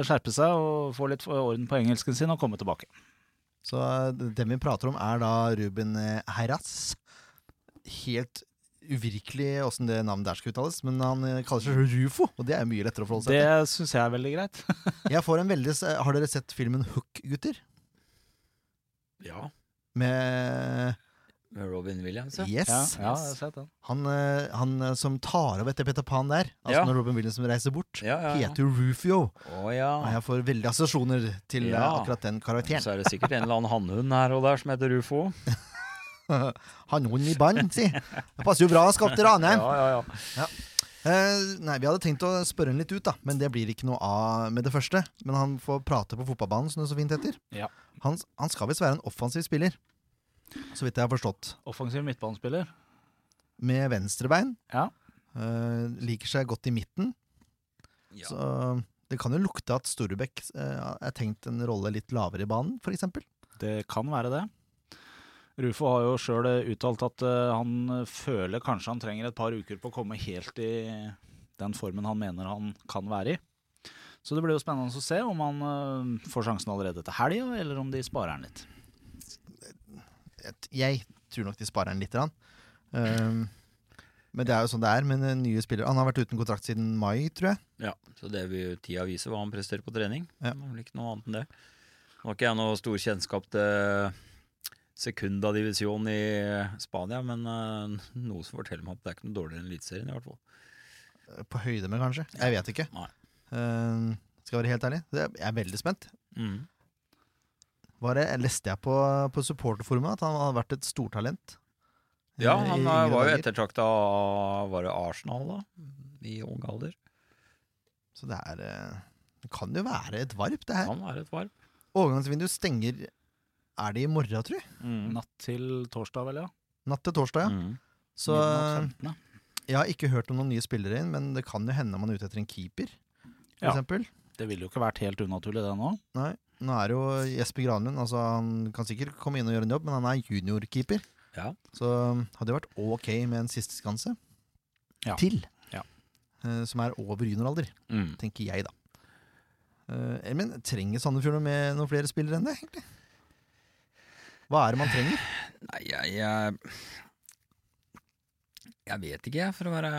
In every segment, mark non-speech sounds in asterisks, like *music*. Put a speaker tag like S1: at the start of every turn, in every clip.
S1: skjerpe seg og få litt orden på engelsken sin og komme tilbake.
S2: Så eh, dem vi prater om, er da Ruben eh, Heras. Helt uvirkelig åssen det navnet der skal uttales, men han eh, kaller seg Rufo, og det er jo mye lettere å forholde seg til.
S1: Det syns jeg er veldig greit.
S2: Jeg får en veldig, s- Har dere sett filmen Hook, gutter?
S3: Ja.
S2: Med
S3: Med Robin Williams, ja.
S1: *laughs*
S2: Yes.
S1: Ja, ja, jeg har sett den.
S2: Han, eh, han eh, som tar av etter Peter Pan der, altså
S3: Ja.
S2: når Robin Williams reiser bort,
S3: Ja, ja, ja.
S2: heter jo Rufio.
S3: Å ja.
S2: Og jeg får veldig assosiasjoner til eh,
S3: Ja.
S2: akkurat den karakteren.
S3: Så er det sikkert en eller annen hannhund her og der som heter Rufo.
S2: *laughs* Hannhunden i band, si. Det passer jo bra å skape til Ranheim.
S3: *laughs* Ja, ja, ja.
S2: Eh, nei, vi hadde tenkt å spørre han litt ut, da, men det blir ikke noe av med det første. Men han får prate på fotballbanen, som det så fint heter.
S1: Ja.
S2: Han, han skal visst være en offensiv spiller, så vidt jeg har forstått.
S1: Offensiv midtbanespiller.
S2: Med venstrebein.
S1: Ja.
S2: Eh, liker seg godt i midten.
S3: Ja.
S2: Så det kan jo lukte at Storbekk eh, er tenkt en rolle litt lavere i banen, f.eks.
S1: Det kan være det. Rufo har jo sjøl uttalt at eh, han føler kanskje han trenger et par uker på å komme helt i den formen han mener han kan være i. Så det blir jo spennende å se om han eh, får sjansen allerede til helga, eller om de sparer han litt.
S2: Jeg tror nok de sparer den litt. grann. Eh, Men det er jo sånn det er med eh, nye spillere. Han har vært uten kontrakt siden mai, tror jeg.
S3: Ja, så det vil jo tida vise hva han presterer på trening.
S2: Ja.
S3: Det er vel ikke noe annet enn det. Nå har ikke jeg noe stor kjennskap til Secunda divisjon i Spania, men eh, noe som forteller meg at det er ikke noe dårligere enn Eliteserien i hvert fall.
S2: På høyde med, kanskje. Jeg vet ikke.
S3: Nei.
S2: Eh, skal jeg være helt ærlig. Det- Jeg er veldig spent.
S3: Mm.
S2: Bare leste jeg på, på supporterforumet at han hadde vært et stortalent.
S3: Ja,
S2: eh, i
S3: han eh,
S2: yngre
S3: var jo
S2: dager.
S3: ettertrakta av var det Arsenal, da? I ung alder.
S2: Så det er eh, Det kan jo være et varp, det her.
S3: Han er et varp.
S2: Overgangsvinduet stenger Er det i morgen, tror jeg?
S1: Natt til torsdag, vel, ja.
S2: Natt til torsdag, ja.
S3: Mm.
S2: Så
S1: Midnatt 15., ja.
S2: jeg har ikke hørt om noen nye spillere inn, men det kan jo hende man er ute etter en keeper, for
S1: Ja.
S2: eksempel.
S1: Det ville jo ikke vært helt unaturlig, det nå.
S2: Nå er det jo Jesper Granlund altså Han kan sikkert komme inn og gjøre en jobb, men han er juniorkeeper.
S3: Ja.
S2: Så hadde det vært ok med en siste skanse.
S1: Ja.
S2: Til.
S1: Ja.
S2: Eh, Som er over junioralder,
S3: Mm.
S2: tenker jeg, da. Eh, men trenger Sandefjord noe med noen flere spillere enn det, egentlig? Hva er det man trenger?
S3: Nei, jeg, jeg Jeg vet ikke, jeg. For å være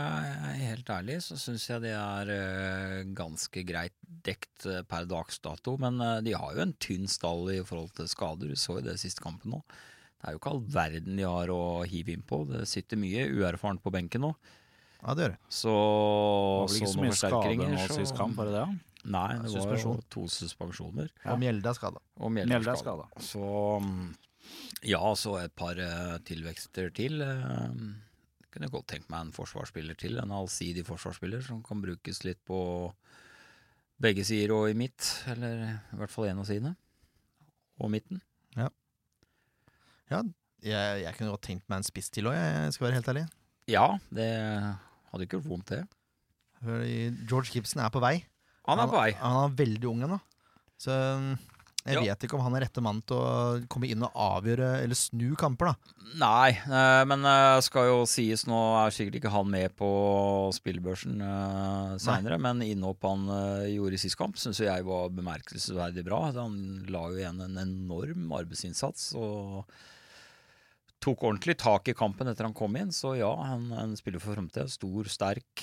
S3: helt ærlig, så syns jeg det er eh, ganske greit dekt eh, per dags dato. Men eh, de har jo en tynn stall i forhold til skader. Du så jo det siste kampen nå. Det er jo ikke all verden de har å hive inn på. Det sitter mye uerfarent på benken nå.
S2: Ja, det gjør det.
S3: Så
S1: Det var vel ikke så mye skader nå sist kamp, bare det. ja.
S3: Nei, det var jo
S2: Suspensjon.
S3: to suspensjoner.
S1: Ja.
S2: Og Mjelde er skada.
S3: Og
S1: Mjelde er
S3: medlemsskade.
S1: skada.
S3: Så mm, ja, så et par eh, tilvekster til. eh, Kunne jeg godt tenkt meg en forsvarsspiller til. En allsidig forsvarsspiller som kan brukes litt på begge sider og i midt. Eller i hvert fall en av sidene. Og midten.
S2: Jeg, jeg kunne godt tenkt meg en spiss til òg, jeg skal være helt ærlig.
S3: Ja, det hadde ikke gjort vondt, det.
S2: Fordi George Gibson er på vei.
S3: Han er på vei.
S2: Han er veldig ung ennå. Så um, jeg
S3: Ja.
S2: vet ikke om han er rette mann til å komme inn og avgjøre eller snu kamper, da.
S3: Nei, eh, men eh, skal jo sies nå er sikkert ikke han med på spillebørsen eh, senere, men innhopp han eh, gjorde i sist kamp syns jeg var bemerkelsesverdig bra. Han la jo igjen en enorm arbeidsinnsats og tok ordentlig tak i kampen etter han kom inn. Så ja, han, han spiller for framtida. Stor, sterk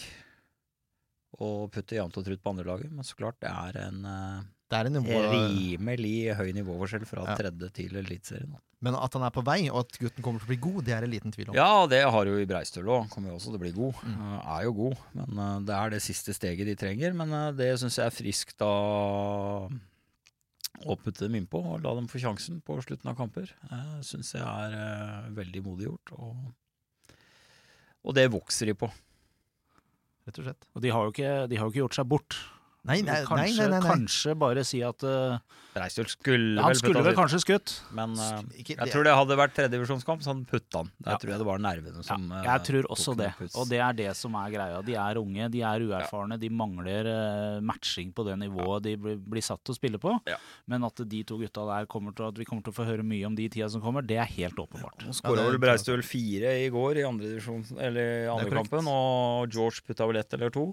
S3: og putter jevnt og trutt på andrelaget. Men så klart, det er en eh,
S2: Det er en nivå,
S3: rimelig høy nivåforskjell fra
S2: Ja.
S3: tredje til Eliteserien. da.
S2: men at han er på vei, og at gutten kommer til å bli god, det er det liten tvil om.
S3: Ja, og det har jo i Breistøl òg. Kommer jo også til å bli god.
S2: Mm.
S3: Eh, Er jo god, men eh, det er det siste steget de trenger. Men eh, det syns jeg er friskt av å putte dem innpå og la dem få sjansen på slutten av kamper. Uh, syns jeg er eh, veldig modig gjort. Og, og det vokser de på.
S2: Rett og slett.
S1: Og de har, jo ikke, de har jo ikke gjort seg bort.
S2: Nei, nei,
S1: kanskje,
S2: nei, nei, nei, nei.
S1: kanskje bare si at eh,
S3: Breistøl skulle
S1: Han
S3: vel
S1: skulle vel
S3: putta
S1: kanskje skutt.
S3: dit, men eh,
S2: Ikke,
S3: jeg
S2: det,
S3: tror det hadde vært tredjedivisjonskamp, så han putta den. Der
S1: Ja.
S3: tror jeg det var nervene
S1: Ja,
S3: som eh,
S1: jeg tror også
S3: tok
S1: det.
S3: en puls.
S1: Og det er det som er greia. De er unge, de er uerfarne, de mangler eh, matching på det nivået de blir, blir satt til å spille på.
S3: Ja.
S1: Men at de to gutta der kommer til, at vi kommer til å få høre mye om de i tida som kommer, det er helt åpenbart.
S3: Nå
S2: Ja,
S3: skåra
S2: det-
S3: vel Breistøl fire i går i andre, divisjon, eller i andre
S2: korrekt.
S3: kampen, og George putta vel ett eller to.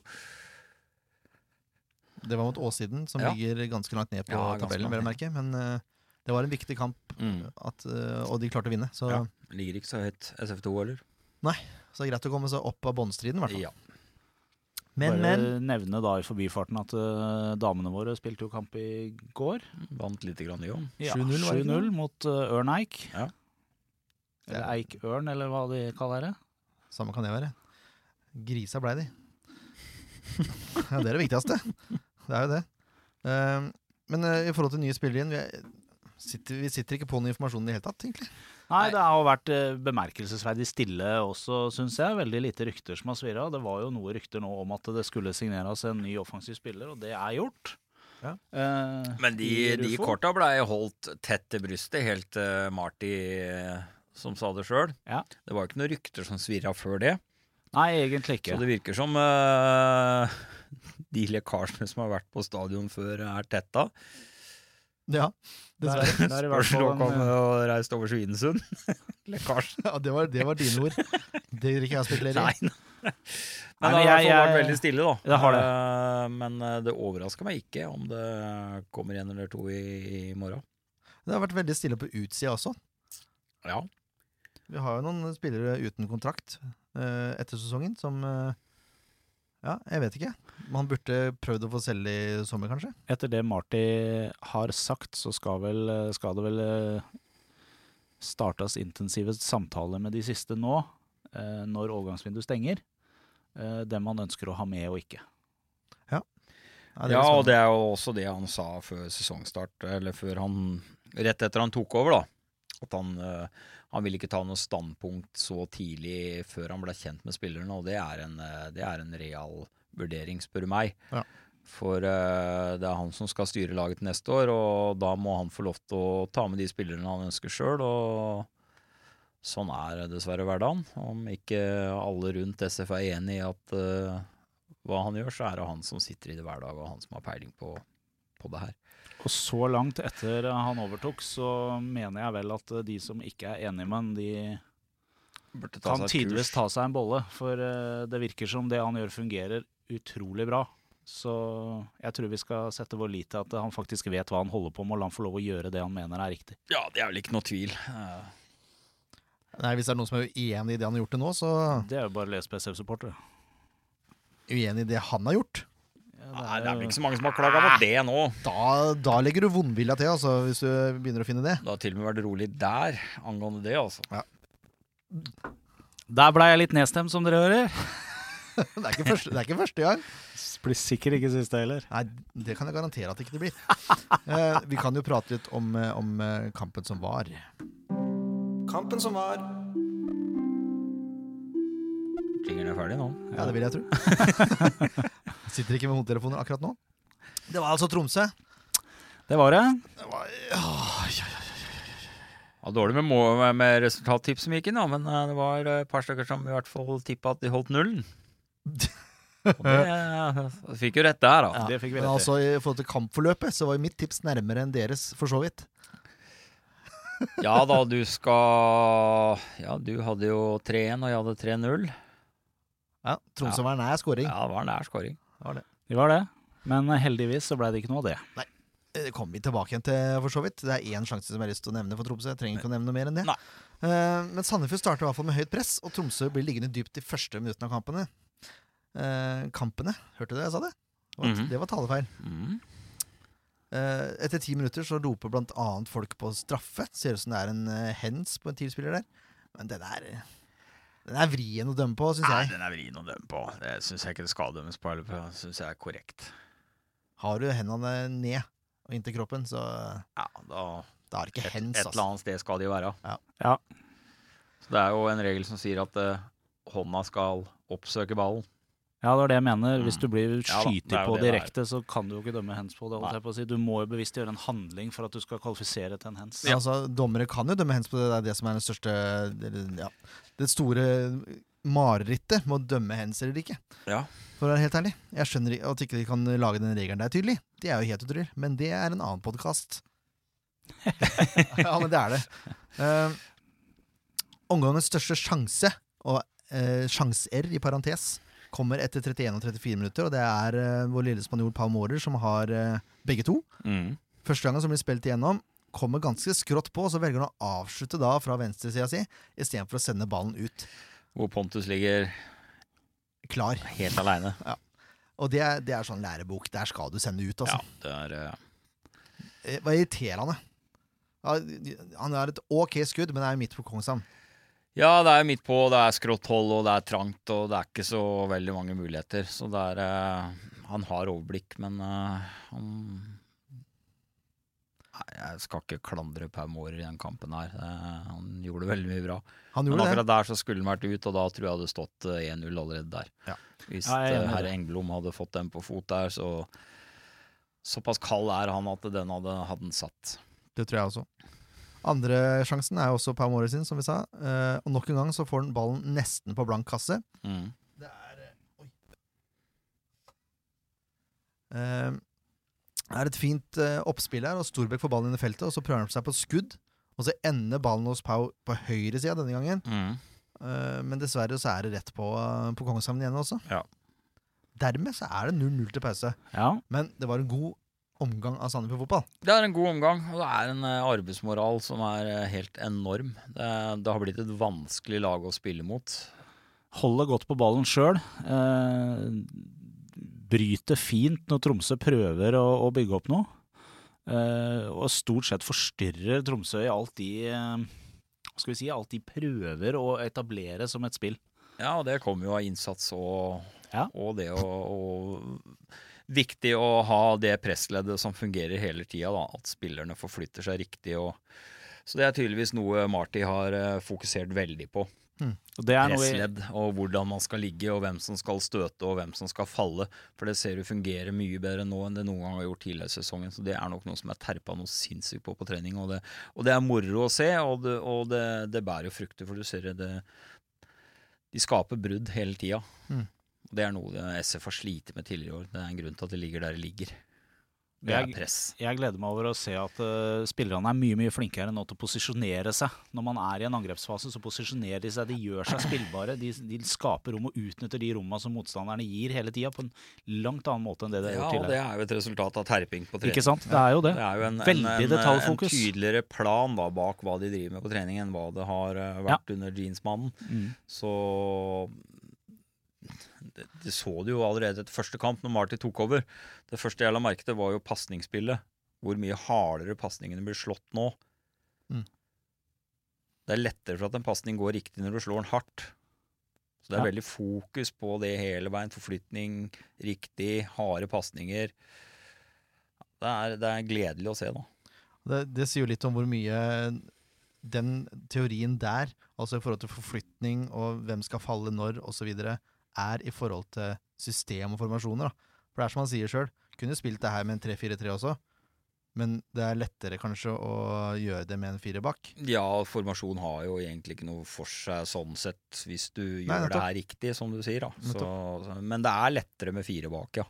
S2: det var mot Åssiden, som
S3: Ja.
S2: ligger ganske langt ned på
S3: Ja, ganske
S2: tabellen, vil jeg merke. Men eh, det var en viktig kamp,
S3: Mm.
S2: at, eh, og de klarte å vinne. Så,
S3: Ja. Ligger ikke så høyt SF2, eller?
S2: så det er greit å komme seg opp av båndstriden, i hvert fall.
S3: Ja.
S2: Men,
S1: Bare
S2: men.
S1: nevne da i forbifarten at eh, damene våre spilte jo kamp i går.
S3: Vant lite grann, jo.
S1: Ja,
S2: 7-0 var det ikke
S1: 7-0 mot eh, Ørn Eik.
S3: Ja.
S1: Eller Eik Ørn, eller hva de kaller det.
S2: Samme kan det være. Grisa blei de. *laughs* ja, det er det viktigste. Det er jo det. Ehm, men eh, i forhold til nye spillere inn, vi, er- sitter, vi sitter ikke på noen informasjon i det hele tatt, egentlig.
S1: Nei,
S3: Nei.
S1: det har jo vært eh, bemerkelsesverdig stille også, syns jeg. Veldig lite rykter som har svirra. Det var jo noe rykter nå om at det skulle signeres en ny offensiv spiller, og det er gjort.
S2: Ja.
S1: Eh,
S3: Men de,
S1: i
S3: de
S1: Rufo.
S3: korta blei holdt tett til brystet, helt til Marty eh, som sa det sjøl.
S1: Ja.
S3: Det var jo ikke noen rykter som svirra før det.
S1: Nei, egentlig ikke.
S3: Så det virker som eh, *laughs* de lekkasjene som har vært på stadion før, er tetta.
S2: Ja,
S1: Der-
S2: dessverre.
S1: der er i hvert
S3: Spørs
S1: fall
S3: om
S1: en, eh,
S3: å reise over Svinesund. Lekkasjen.
S2: *laughs* Ja, det, var, det var dine ord. Det vil ikke jeg spekulere i.
S3: Nei, nei.
S1: Nei,
S3: Men det
S1: men
S3: har i hvert fall vært
S1: jeg-
S3: veldig stille, da.
S1: Det har det.
S3: Eh, Men eh, det overrasker meg ikke om det kommer en eller to i, i morgen.
S2: Det har vært veldig stille på utsida også.
S3: Ja.
S2: Vi har jo noen spillere uten kontrakt. eh, etter sesongen, som eh, Ja, jeg vet ikke. Man burde prøvd å få selge i sommer, kanskje.
S1: Etter det Marty har sagt, så skal, vel, skal det vel eh, startes intensive samtaler med de siste nå, eh, når overgangsvinduet stenger. eh, Dem man ønsker å ha med og ikke.
S2: Nei,
S3: Ja,
S2: blir
S3: og det er jo også det han sa før sesongstart, eller før han Rett etter han tok over, da. At han, eh, han ville ikke ta noe standpunkt så tidlig før han ble kjent med spillerne, og det er en, eh, det er en real vurdering, spør du meg.
S2: Ja.
S3: For eh, det er han som skal styre laget til neste år, og da må han få lov til å ta med de spillerne han ønsker sjøl, og sånn er dessverre hverdagen. Om ikke alle rundt SF er enig i at eh, hva han gjør, så er det han som sitter i det hver dag, og han som har peiling på, på det her.
S1: Og så langt etter han overtok, så mener jeg vel at de som ikke er enige med han, de
S3: Burde ta
S1: kan
S3: seg et
S1: tidvis
S3: kurs.
S1: ta seg en bolle, for eh, det virker som det han gjør fungerer utrolig bra. Så jeg tror vi skal sette vår lit til at han faktisk vet hva han holder på med, og la han få lov å gjøre det han mener er riktig.
S3: Ja, det er vel ikke noe tvil. Eh,
S2: sånn- Nei, Hvis det er noen som er uenig i det han har gjort til nå, så
S1: Det er jo bare å lese PSV-supportere.
S2: uenig i det han har gjort.
S3: Nei, det er vel ikke så mange som har klaga på det nå.
S2: Da, da legger du vondvilja til, altså, hvis du begynner å finne det. *laughs*
S3: Det har til og med vært rolig der angående det, altså.
S1: Der blei jeg litt nedstemt, som dere hører.
S2: Det er ikke første, det er ikke første gang.
S1: Blir sikkert ikke siste heller.
S2: Nei, det kan jeg garantere at det ikke blir. Eh, vi kan jo prate litt om, eh, om eh, kampen som var.
S4: Kampen som var.
S3: Tingene er ferdig nå.
S2: Ja, det vil jeg
S4: *laughs*
S2: tro. Sitter ikke med hodetelefoner akkurat nå. Det var altså Tromsø.
S1: Det var det.
S3: Ja, dårlig med, må- med resultattips som gikk inn, da, men eh, det var eh, et par stykker som i hvert fall tippa at de holdt nullen. Og det eh, fikk jo rett der, da.
S1: Det fikk vi
S2: Men
S1: rett i.
S2: altså, I forhold til kampforløpet så var jo mitt tips nærmere enn deres, for så vidt.
S3: Ja da, du skal Ja, du hadde jo 3-1, og jeg hadde 3-0.
S2: Ja, Tromsø var nær skåring.
S3: Ja, det var nær scoring.
S1: Det var det. Men heldigvis så blei det ikke noe av det.
S2: Eh, Det kommer vi tilbake igjen til, for så vidt. Det er én sjanse som jeg har lyst til å nevne for Tromsø. Jeg trenger ikke å nevne noe mer enn det.
S3: Nei.
S2: Eh, Men Sandefjord starter i hvert fall med høyt press, og Tromsø blir liggende dypt de første minuttene av kampene. Eh, kampene, hørte du det jeg sa det? Det var,
S3: Mhm.
S2: det var talefeil.
S3: Mm.
S2: Eh, etter ti minutter så roper blant annet folk på straffe. Ser ut som det er en eh, hands på en TIL-spiller der. Men den er, eh, den er vrien å dømme på, syns
S3: Nei,
S2: jeg.
S3: den er vrien å dømme på. Det syns jeg ikke det skal dømmes på. eller på- Det syns jeg er korrekt.
S2: Har du hendene ned og inntil kroppen, så
S3: Ja, da
S2: da er det ikke
S3: Et,
S2: hands.
S3: et eller
S2: Altså.
S3: annet sted skal de være.
S2: Ja.
S1: Ja.
S3: Så det er jo en regel som sier at eh, hånda skal oppsøke ballen.
S1: Ja, det var det jeg mener. Hvis
S3: Mm.
S1: du blir
S3: Ja da,
S1: skyter
S3: det er jo
S1: på
S3: det det er.
S1: direkte, så kan du jo ikke dømme hands på det. Holdt jeg på å si. Du må jo bevisst gjøre en handling for at du skal kvalifisere til en hands.
S2: Altså, dommere kan jo dømme hands på det. Det er det som er den største eller, ja, Det store marerittet med å dømme hands eller ikke.
S3: Ja.
S2: For å være helt ærlig. Jeg skjønner ikke at ikke de kan lage den regelen der, tydelig. Det er jo helt utrolig. Men det er en annen podkast. *laughs* ja, men det er det. Eh, omgangens største sjanse, og uh, sjans-r i parentes, kommer etter 31 og 34 minutter, og det er eh, vår lille spanjol Pau Mårer som har eh, begge to.
S3: Mm.
S2: Første gangen som blir spilt igjennom, kommer ganske skrått på, og så velger han å avslutte da fra venstresida si, istedenfor å sende ballen ut.
S3: Hvor Pontus ligger
S2: Klar.
S3: helt aleine.
S2: Og det er, det er sånn lærebok. Der skal du sende ut, altså.
S3: Ja, det er eh,
S2: Det var irriterende. Ja, Han er et ok skudd, men er jo midt på Kongshamn.
S3: Ja, det er midt på, det er skrått hold, og det er trangt, og det er ikke så veldig mange muligheter. Så det er eh, Han har overblikk, men eh, han Nei, jeg skal ikke klandre Pau Mårer i den kampen her. Eh, han gjorde veldig mye bra.
S2: Han
S3: Men
S2: gjorde det.
S3: akkurat der så skulle han vært ut, og da tror jeg det hadde stått eh, 1-0 allerede der.
S2: Ja.
S3: Hvis
S1: Ja, jeg er enig
S3: eh,
S1: i
S3: herr
S1: det.
S3: Engblom hadde fått den på fot der, så Såpass kald er han at den hadde, hadde den satt.
S2: Det tror jeg også. Andre sjansen er jo også Pau Mårer sin, som vi sa. Eh, og nok en gang så får han ballen nesten på blank kasse.
S3: Mm.
S2: Det er eh, Oi. Eh, det er et fint eh, oppspill her, og Storbekk får ballen inn i feltet, og så prøver han seg på skudd. Og så ender ballen hos Pau på høyresida denne gangen,
S3: Mm.
S2: eh, men dessverre så er det rett på, eh, på Kongshamn igjen også.
S3: Ja.
S2: Dermed så er det 0-0 til pause.
S1: Ja.
S2: Men det var en god omgang av Sandefjord fotball.
S3: Det er en god omgang, og det er en eh, arbeidsmoral som er eh, helt enorm. Det, det har blitt et vanskelig lag å spille mot.
S1: Holder godt på ballen sjøl. Eh, bryter fint når Tromsø prøver å, å bygge opp noe. Eh, og stort sett forstyrrer Tromsø i alt de eh, hva skal vi si, alt de prøver å etablere som et spill.
S3: Ja, og det kommer jo av innsats og,
S1: Ja.
S3: og det å og, Viktig å ha det pressleddet som fungerer hele tida, da. At spillerne forflytter seg riktig og Så det er tydeligvis noe Marty har eh, fokusert veldig på.
S1: Og det er noe i-
S3: Pressledd og hvordan man skal ligge, og hvem som skal støte og hvem som skal falle. For det ser du fungerer mye bedre nå enn det noen gang har gjort tidligere i sesongen. Så det er nok noe som er terpa noe sinnssykt på på trening. Og det, og det er moro å se, og det, og det, det bærer jo frukter, for du ser det De skaper brudd hele tida.
S2: Mm.
S3: Og Det er noe det SF har slitt med tidligere i år. Det er en grunn til at det ligger der det ligger. Det er
S1: Jeg-
S3: press.
S1: Jeg gleder meg over å se at eh, spillerne er mye mye flinkere nå til å posisjonere seg. Når man er i en angrepsfase, så posisjonerer de seg. De gjør seg spillbare. De, de skaper rom og utnytter de rommene som motstanderne gir hele tida, på en langt annen måte enn det de har
S3: Ja,
S1: gjort
S3: og det
S1: tidligere.
S3: er jo et resultat av terping på trening.
S1: Ikke sant? Det er jo det.
S3: Det er jo en, en,
S1: Veldig
S3: en, en
S1: detaljfokus.
S3: tydeligere plan da, bak hva de driver med på trening, enn hva det har eh, vært under Jeansmannen.
S1: Mm.
S3: Så det, det så du jo allerede etter første kamp, når Marty tok over. Det første jeg la merke til, var jo pasningsspillet. Hvor mye hardere pasningene blir slått nå.
S2: Mm.
S3: Det er lettere for at en pasning går riktig når du slår den hardt. Så det er veldig fokus på det hele veien. Forflytning, riktig, harde pasninger. Det er, det er gledelig å se, da.
S2: Det, det sier jo litt om hvor mye den teorien der, altså i forhold til forflytning og hvem skal falle når osv., er i forhold til system og formasjoner. Da. For det er som han sier sjøl, kunne spilt det her med en 3-4-3 også, men det er lettere kanskje å gjøre det med en fire bak.
S3: Ja, formasjon har jo egentlig ikke noe for seg sånn sett, hvis du gjør
S2: Nei, nettopp.
S3: det her riktig, som du sier. da. Så, så, men det er lettere med fire bak, ja.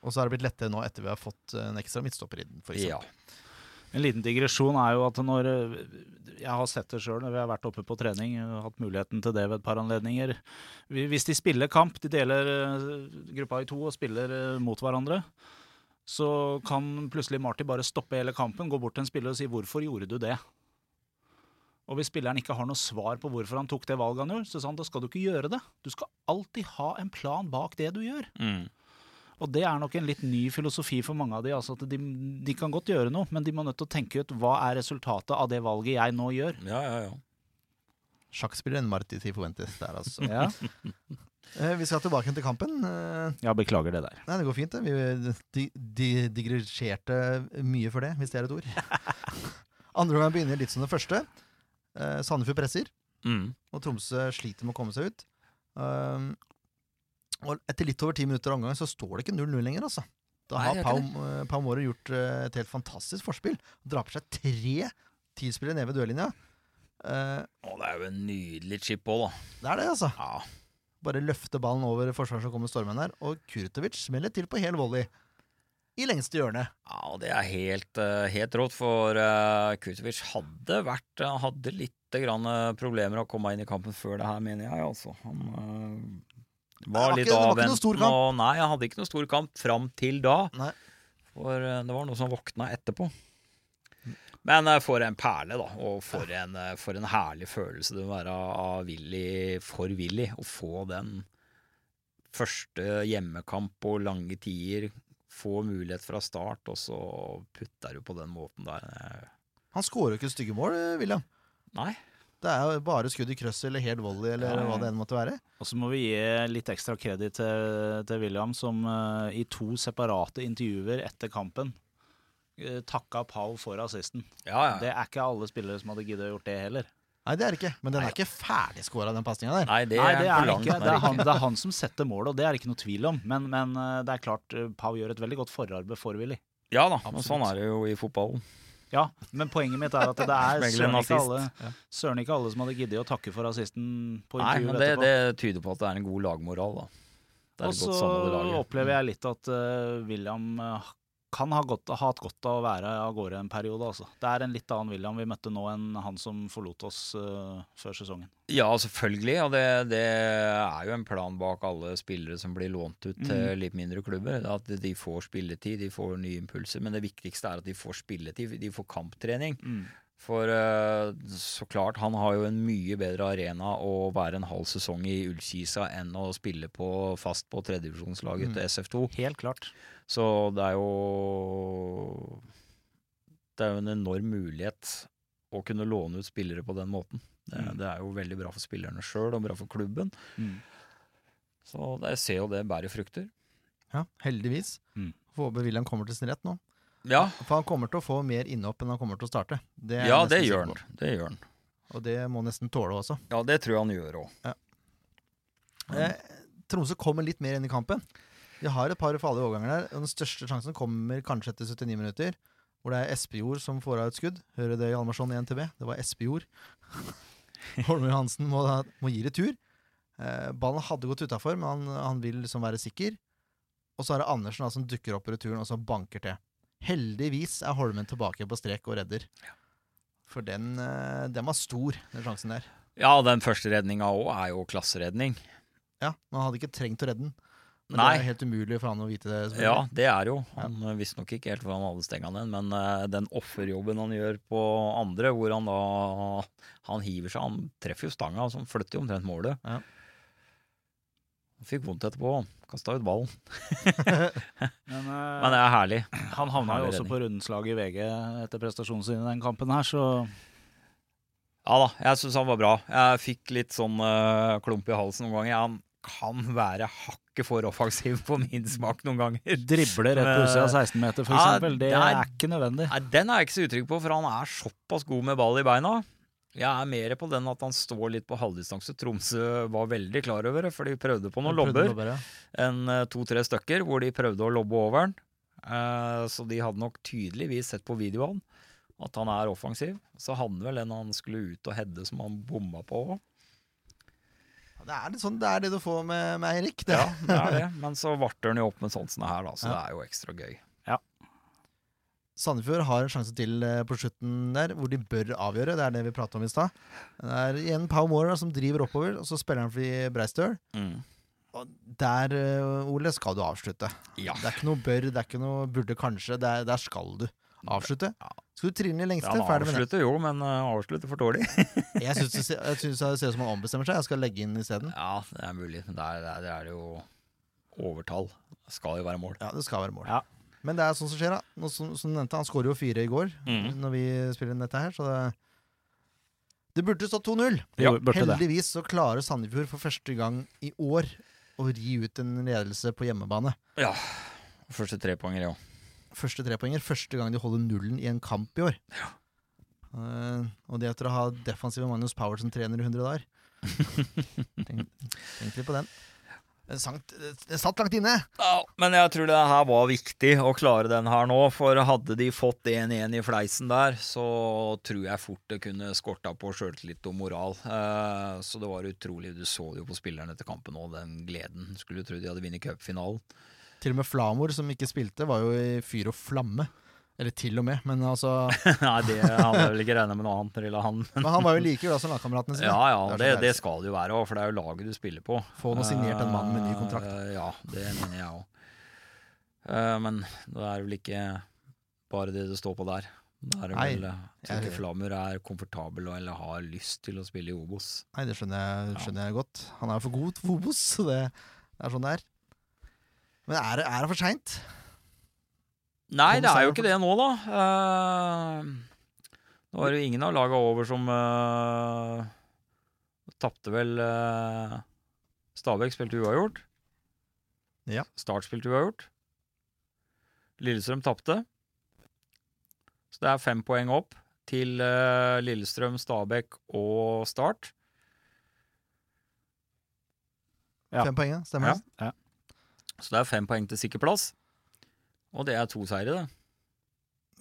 S2: Og så har det blitt lettere nå etter vi har fått en ekstra midtstopper i den, for eksempel.
S3: ja.
S1: En liten digresjon er jo at når eh, Jeg har sett det sjøl når vi har vært oppe på trening, jeg har hatt muligheten til det ved et par anledninger. Vi- Hvis de spiller kamp, de deler eh, gruppa i to og spiller eh, mot hverandre, så kan plutselig Marty bare stoppe hele kampen, gå bort til en spiller og si 'hvorfor gjorde du det'? Og hvis spilleren ikke har noe svar på hvorfor han tok det valget han gjorde, så sa han da skal du ikke gjøre det. Du skal alltid ha en plan bak det du gjør.
S3: Mm.
S1: Og det er nok en litt ny filosofi for mange av de. Altså at de, de kan godt gjøre noe, men de må nødt til å tenke ut hva er resultatet av det valget jeg nå gjør.
S3: ja, ja, ja.
S2: Sjakkspilleren Marti Tifuentes der, altså.
S1: *laughs* Ja,
S2: Eh, Vi skal tilbake til kampen. Eh,
S1: beklager det der.
S2: Nei, det går fint. Det. Vi di, di, digresjerte mye for det, hvis det er et ord.
S3: *laughs*
S2: Andre omgang begynner litt som det første. Eh, Sandefjord presser,
S3: Mm.
S2: og Tromsø sliter med å komme seg ut. Um, og etter litt over ti minutter av omgangen så står det ikke 0-0 lenger, altså. Da
S3: Nei,
S2: har
S3: det er
S2: Pau, eh, Pau Måre gjort eh, et helt fantastisk forspill. Drar på seg tre tilspillere ned ved dørlinja. Eh,
S3: Å, det er jo en nydelig chip òg, da.
S2: det er det, altså.
S3: Ja.
S2: Bare løfter ballen over forsvaret som kommer stormende her, og Kurtovic smeller til på hel volley. I lengste hjørne.
S3: Ja, og det er helt, eh, helt rått, for uh, Kurtovic hadde vært Han hadde litt grann, eh, problemer å komme inn i kampen før det her, mener jeg, altså. Han eh, var
S2: var
S3: litt
S2: ikke- det var ikke noe stor
S3: avventende.
S2: kamp.
S3: og- Nei, han hadde ikke noe stor kamp fram til da.
S2: Nei.
S3: For eh, det var noe som våkna etterpå. Men eh, for en perle, da. Og for en, eh, for en herlig følelse det må være av Willy for Willy. Å få den første hjemmekamp på lange tider. Få mulighet fra start, og så putter du på den måten der. Eh,
S2: Han skårer jo ikke stygge mål, eh, William.
S3: Nei.
S2: Det er jo bare skudd i krøss eller helt volley eller
S3: Ja, ja.
S2: hva det enn måtte være.
S1: Og så må vi gi litt ekstra kreditt til, til William, som eh, i to separate intervjuer etter kampen eh, takka Pau for assisten.
S3: Ja, ja.
S1: Det er ikke alle spillere som hadde giddet å gjort det heller.
S2: Nei, det er det ikke. Men den er ikke ferdigskåra, den pasninga der.
S3: Nei, det
S1: Nei,
S3: er
S1: det
S3: for
S1: er,
S3: langt.
S1: ikke,
S3: den
S1: det, er
S3: ikke.
S1: han, det er han som setter målet, og det er det ikke noe tvil om. Men, men eh, det er klart, eh, Pau gjør et veldig godt forarbeid for Willy.
S3: Ja da, men
S1: Absolutt.
S3: sånn er det jo i fotballen.
S1: Ja, men poenget mitt er at det er
S3: Smegler en
S1: søren ikke,
S3: assist.
S1: alle, søren ikke alle som hadde giddet å takke for assisten på
S3: Nei, men
S1: intervjuet
S3: det,
S1: etterpå.
S3: det tyder på at det er en god lagmoral, da. Det er
S1: Og
S3: et
S1: så
S3: godt samhold i Mm. laget.
S1: opplever jeg litt at eh, William eh, kan ha godt, ha hatt godt av å være av gårde en periode, altså. Det er en litt annen William vi møtte nå enn han som forlot oss eh, før sesongen.
S3: Ja, selvfølgelig. Og det, det er jo en plan bak alle spillere som blir lånt ut til
S1: Mm.
S3: litt mindre klubber. At de får spilletid, de får nye impulser. Men det viktigste er at de får spilletid, de får kamptrening. For eh, så klart, han har jo en mye bedre arena å være en halv sesong i Ullkisa enn å spille på, fast på tredjedivisjonslaget til SF2.
S1: Helt klart.
S3: Så det er jo Det er jo en enorm mulighet å kunne låne ut spillere på den måten. Det,
S1: Mm.
S3: det er jo veldig bra for spillerne sjøl og bra for klubben. Så det, jeg ser jo det bærer frukter.
S2: Ja, heldigvis.
S1: Mm.
S2: Får håpe William kommer til sin rett nå.
S3: Ja,
S2: For han kommer til å få mer innhopp enn han kommer til å starte. Det er jeg
S3: ja
S2: nesten
S3: det
S2: sikker
S3: gjør han.
S2: på.
S3: Det gjør han.
S2: Og det må han nesten tåle også.
S3: Ja, det tror jeg han gjør òg.
S2: Eh, Tromsø kommer litt mer inn i kampen. De har et par farlige overganger der. og Den største sjansen kommer kanskje etter 79 minutter, hvor det er Espejord som får av et skudd. Hører det, Hjalmarsson i NTB? Det var Espejord. *laughs* Holmen Johansen må, må gi retur. Eh, ballen hadde gått utafor, men han, han vil liksom være sikker. Og så er det Andersen da, som dukker opp i returen og så banker til. Heldigvis er Holmen tilbake på strek og redder. For den, eh, den var stor, den sjansen der.
S3: Ja, den første redninga òg er jo klasseredning.
S2: Ja, Man hadde ikke trengt å redde den. Men
S3: Nei.
S2: det er helt umulig for han å vite det. selvfølgelig.
S3: Ja, det er jo. Han eh, visste nok ikke helt hvor han hadde stenga den, men eh, den offerjobben han gjør på andre, hvor han da Han hiver seg, han treffer jo stanga, så han flytter jo omtrent målet.
S2: Ja.
S3: Han Fikk vondt etterpå. Kasta ut ballen.
S1: Men, eh,
S3: Men eh, det er herlig.
S1: han havna jo
S3: herlig
S1: også
S3: redning.
S1: på rundens lag i VG etter prestasjonen sin i den kampen her, så
S3: Ja da, jeg syns han var bra. Jeg fikk litt sånn eh, klump i halsen noen ganger. Han kan være hakket for offensiv på min smak noen ganger.
S1: dribler rett på utsida av 16 meter, for
S3: eh, Ja,
S1: eksempel. Det
S3: det er-
S1: er ikke nødvendig.
S3: Nei, den er jeg ikke så utrygg på, for han er såpass god med ball i beina. Jeg er mer på den at han står litt på halvdistanse. Tromsø var veldig klar over det, for de prøvde på noen
S2: Prøvde
S3: lobber.
S2: lobber, ja.
S3: En eh, to-tre stykker hvor de prøvde å lobbe over den. Eh, Så de hadde nok tydeligvis sett på videoen at han er offensiv. Så hadde han vel en han skulle ut og heade som han bomma på òg.
S2: Ja, Det er litt sånn, det er det du får med, med Eirik. Det.
S3: Ja, det
S2: *laughs*
S3: er det. Men så varter han jo opp med sånt som det her, da. Så det
S2: Ja.
S3: er jo ekstra gøy.
S2: Sandefjord har en sjanse til eh, på slutten der, hvor de bør avgjøre. Det er det vi pratet om i stad. Det er igjen Pau Mora som driver oppover, og så spiller han for de Breistøl.
S3: Mm.
S2: Og der, eh, Ole, skal du avslutte.
S3: Ja.
S2: Det er ikke noe bør, det er ikke noe burde kanskje. Det er, der skal du avslutte. Skal du trille i lengste,
S3: Han
S2: ferdig med det.
S3: avslutter jo, men eh, avslutter for dårlig.
S2: Jeg syns det ser- jeg syns det ser ut som han ombestemmer seg. Jeg skal legge inn isteden.
S3: Ja, det er mulig. Men der, der, der er det jo overtall. Det skal jo være mål.
S2: Ja, det skal være mål.
S1: Ja.
S2: Men det er sånn som skjer, da. Nå, som, som du nevnte, han skårer jo fire i går
S3: Mhm.
S2: når vi spiller inn dette her, så det Det burde stått 2-0.
S1: Jo, burde det.
S2: Heldigvis så klarer Sandefjord for første gang i år å ri ut en ledelse på hjemmebane.
S3: Ja. Første trepoenger, ja.
S2: Første trepoenger. Første gang de holder nullen i en kamp i år. Eh, og det etter å ha defensive Magnus Power som trener i 100 dager. tenk, tenk litt på den. Det, sank, det satt langt inne!
S3: ja. Men jeg tror det her var viktig å klare den her nå. For hadde de fått 1-1 i fleisen der, så tror jeg fort det kunne skorta på sjøltillit og moral. Eh, så det var utrolig. Du så det jo på spillerne etter kampen òg, den gleden. Skulle tro de hadde vunnet cupfinalen.
S2: Til og med Flamor, som ikke spilte, var jo i fyr og flamme. Eller til og med, men altså
S3: *laughs* Nei, det hadde jeg vel ikke regna med noe annet. Rilla, han.
S2: Men han var jo like glad som lagkameratene sine.
S3: Ja ja,
S2: Det er så
S3: det,
S2: deilig.
S3: det skal det jo være òg, for det er jo laget du spiller på.
S2: Få nå signert en mann med ny kontrakt.
S3: Eh, ja, det mener jeg òg. men det er vel ikke bare det det står på der. Det er
S2: Nei,
S3: vel, eh,
S2: jeg-
S3: tror ikke Flamur er komfortabel og eller har lyst til å spille i Obos.
S2: Nei, det skjønner jeg, skjønner jeg godt. Han er jo for god for Obos, så det, det er sånn det er. Men er det, er det for seint?
S3: Nei,
S2: Kom
S3: det er jo
S2: seier
S3: ikke
S2: for-
S3: det nå, da. Eh, nå var det jo ingen av laga over som uh, tapte vel uh, Stabæk spilte uavgjort.
S2: Ja.
S3: Start spilte uavgjort. Lillestrøm tapte. Så det er fem poeng opp til eh, Lillestrøm, Stabæk og Start.
S1: Ja.
S2: Fem poeng, ja. stemmer det?
S3: Så det er fem poeng til sikker plass. Og det er to seire, det.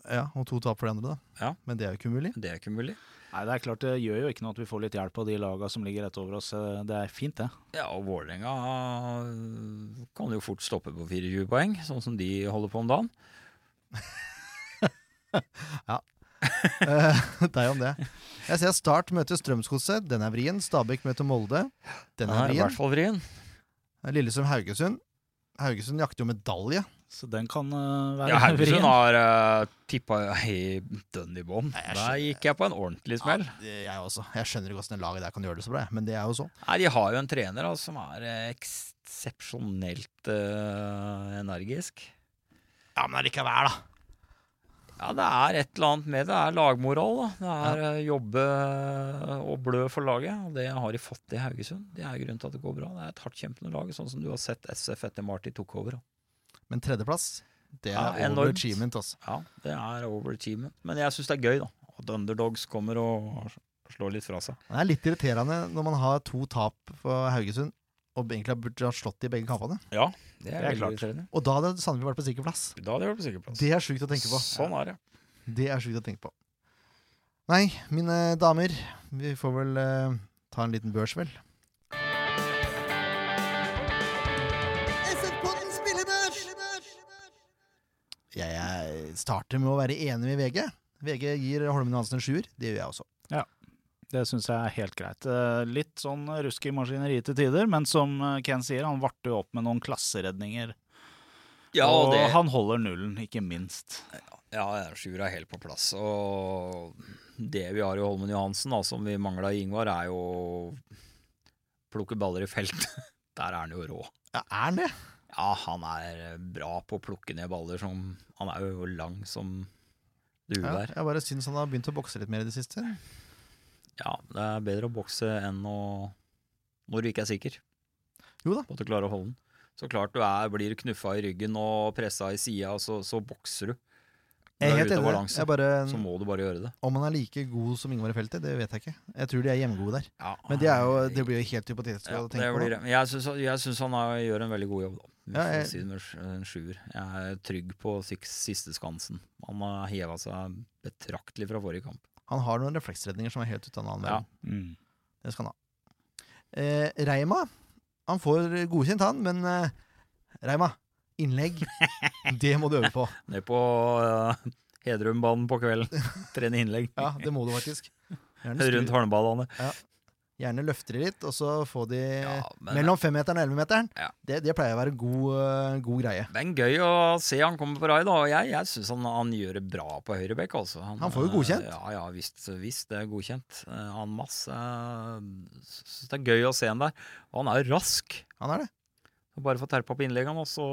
S2: Ja, Og to tap for de andre, da.
S3: Ja.
S2: Men det er jo ikke umulig.
S3: Det er ikke mulig.
S1: Nei, det er klart det gjør jo ikke noe at vi får litt hjelp av de laga som ligger rett over oss. Eh, Det er fint, det.
S3: Ja, og Vålerenga øh, kan jo fort stoppe på 24 poeng, sånn som de holder på om dagen.
S2: Eh, *laughs* Deg om det. Jeg ser Start møter Strømsgodset. Den er vrien. Stabæk møter Molde. Den
S3: Den
S2: er
S3: er i
S2: vrien.
S3: hvert fall vrien.
S2: Lillestrøm-Haugesund. Haugesund jakter jo medalje.
S1: Så den kan eh, være
S3: Ja, Haugesund
S1: vrien.
S3: har uh, tippa *laughs* i dønn i bånn. Der gikk jeg på en ordentlig smell.
S2: det- jeg også. Jeg skjønner ikke hvordan det laget der kan gjøre det så bra, jeg, men det er jo så.
S3: Nei, De har jo en trener da, som er eh, eksepsjonelt eh, energisk.
S2: Ja, men allikevel, da.
S3: Ja, det er et eller annet med det. Det er lagmoral. da. Det er eh, jobbe eh, og blø for laget. og Det har de fått i Haugesund. Det er grunnen til at det går bra. Det er et hardtkjempende lag, sånn som du har sett SF etter Marty tok over. da.
S2: Men tredjeplass, det
S3: Ja,
S2: er
S3: enormt.
S2: overachievement, altså.
S3: Ja, det er overachievement. Men jeg syns det er gøy, da. At underdogs kommer og slår litt fra seg.
S2: Det er litt irriterende når man har to tap for Haugesund, og egentlig burde ha slått i begge kampene.
S3: Ja, det
S1: Det
S3: er,
S1: er
S3: veldig
S1: klart.
S3: irriterende.
S2: Og da hadde Sandefjord vært på sikker plass.
S3: Da hadde jeg vært på sikkerplass.
S2: Det er sjukt å tenke på.
S3: Sånn er det.
S2: Det er sjukt å tenke på. Nei, mine damer, vi får vel eh, ta en liten børs, vel.
S4: SF-podden spillebørs!
S2: Jeg, jeg starter med å være enig med VG. VG gir Holmen Hansen en sjuer. Det gjør jeg også.
S1: Det syns jeg er helt greit. Eh, Litt sånn rusk i maskineriet til tider, men som eh, Ken sier, han varte jo opp med noen klasseredninger.
S3: Ja, og det,
S1: han holder nullen, ikke minst.
S3: ja, ja, Sjur er helt på plass. Og det vi har i Holmen Johansen, da, som vi mangla i Ingvar, er jo å plukke baller i felt. *laughs* Der er han jo rå.
S2: Ja, er han det?
S3: Ja, han er bra på å plukke ned baller som Han er jo lang som du
S2: Ja,
S3: er.
S2: jeg bare syns han har begynt å bokse litt mer i det siste.
S3: Ja, det er bedre å bokse enn å Når du ikke er sikker.
S2: Jo da.
S3: På at du klarer å holde den. Så klart du er, blir knuffa i ryggen og pressa i sida, og så, så bokser du.
S2: Jeg
S3: Når du
S2: er
S3: er
S2: helt
S3: ute av
S2: enig.
S3: balanse,
S2: Jeg bare,
S3: Så må du bare gjøre det.
S2: om han er like god som Ingvar i feltet, det vet jeg ikke. Jeg tror de er hjemgode der.
S3: Ja,
S2: Men det, er jo, det blir jo helt hypotetisk
S3: Ja,
S2: å
S3: det
S2: tenke på.
S3: blir
S2: da.
S3: det. Men Jeg syns, jeg syns han er, gjør en veldig god jobb, da. Vi
S2: Ja,
S3: får
S2: jeg-
S3: si det med sj- en sjuer. Jeg er trygg på siks, siste skansen. Han har heva seg betraktelig fra forrige kamp.
S2: Han har noen refleksredninger som er helt ute av en annen
S3: Ja.
S2: verden.
S3: Mm.
S2: Det skal han ha. Eh, Reima, han får godkjent han, men eh, Reima,
S3: *laughs*
S2: innlegg, det må du øve på.
S3: Ned på øh, Hedrumbanen på
S2: *laughs*
S3: kvelden. Trene innlegg
S2: Ja, det må du faktisk. Gjerne,
S3: rundt
S2: skru,
S3: håndballene.
S2: gjerne løfte de litt, og så få de
S3: Ja, men
S2: mellom femmeteren og ellevemeteren.
S3: Ja.
S2: Det, det pleier å være god, eh, god greie.
S3: men gøy å se han kommer på rai, da. Og jeg, jeg syns han, han gjør det bra på høyrebekk, altså.
S2: Han får jo
S3: øh,
S2: godkjent.
S3: Ja, ja visst, visst det er godkjent. Eh, Han masse Syns det er gøy å se han der. Og han er jo rask.
S2: Han er det.
S3: Bare få terpa på innleggene, og så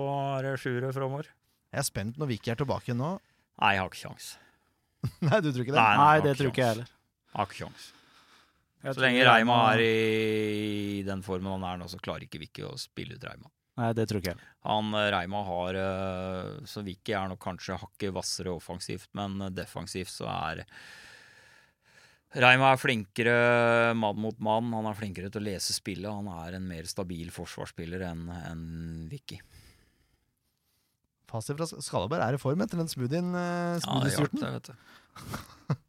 S3: er det sjuere framover.
S2: Jeg er spent når Vicky er tilbake igjen nå. *laughs*
S3: Nei, jeg har ikke kjangs.
S2: Nei, du tror ikke det?
S3: Nei,
S1: Nei,
S3: jeg har
S1: det tror ikke jeg heller.
S3: Jeg har ikke sjans.
S1: Jeg
S3: Så
S1: tror
S3: lenge Reima er i den formen han er nå, så klarer ikke Vicky å spille ut Reima.
S1: Nei, det tror ikke jeg heller.
S3: Han eh, Reima har eh, Så Vicky er nok kanskje hakket hvassere offensivt, men eh, defensivt så er Reima er flinkere mann mot mann. Han er flinkere til å lese spillet. Han er en mer stabil forsvarsspiller enn enn Vicky.
S2: Fasit fra Skalaberg er i form etter den smoothien. eh,
S3: Ja, det hjalp,
S2: smoothie-surten.
S3: det, vet du.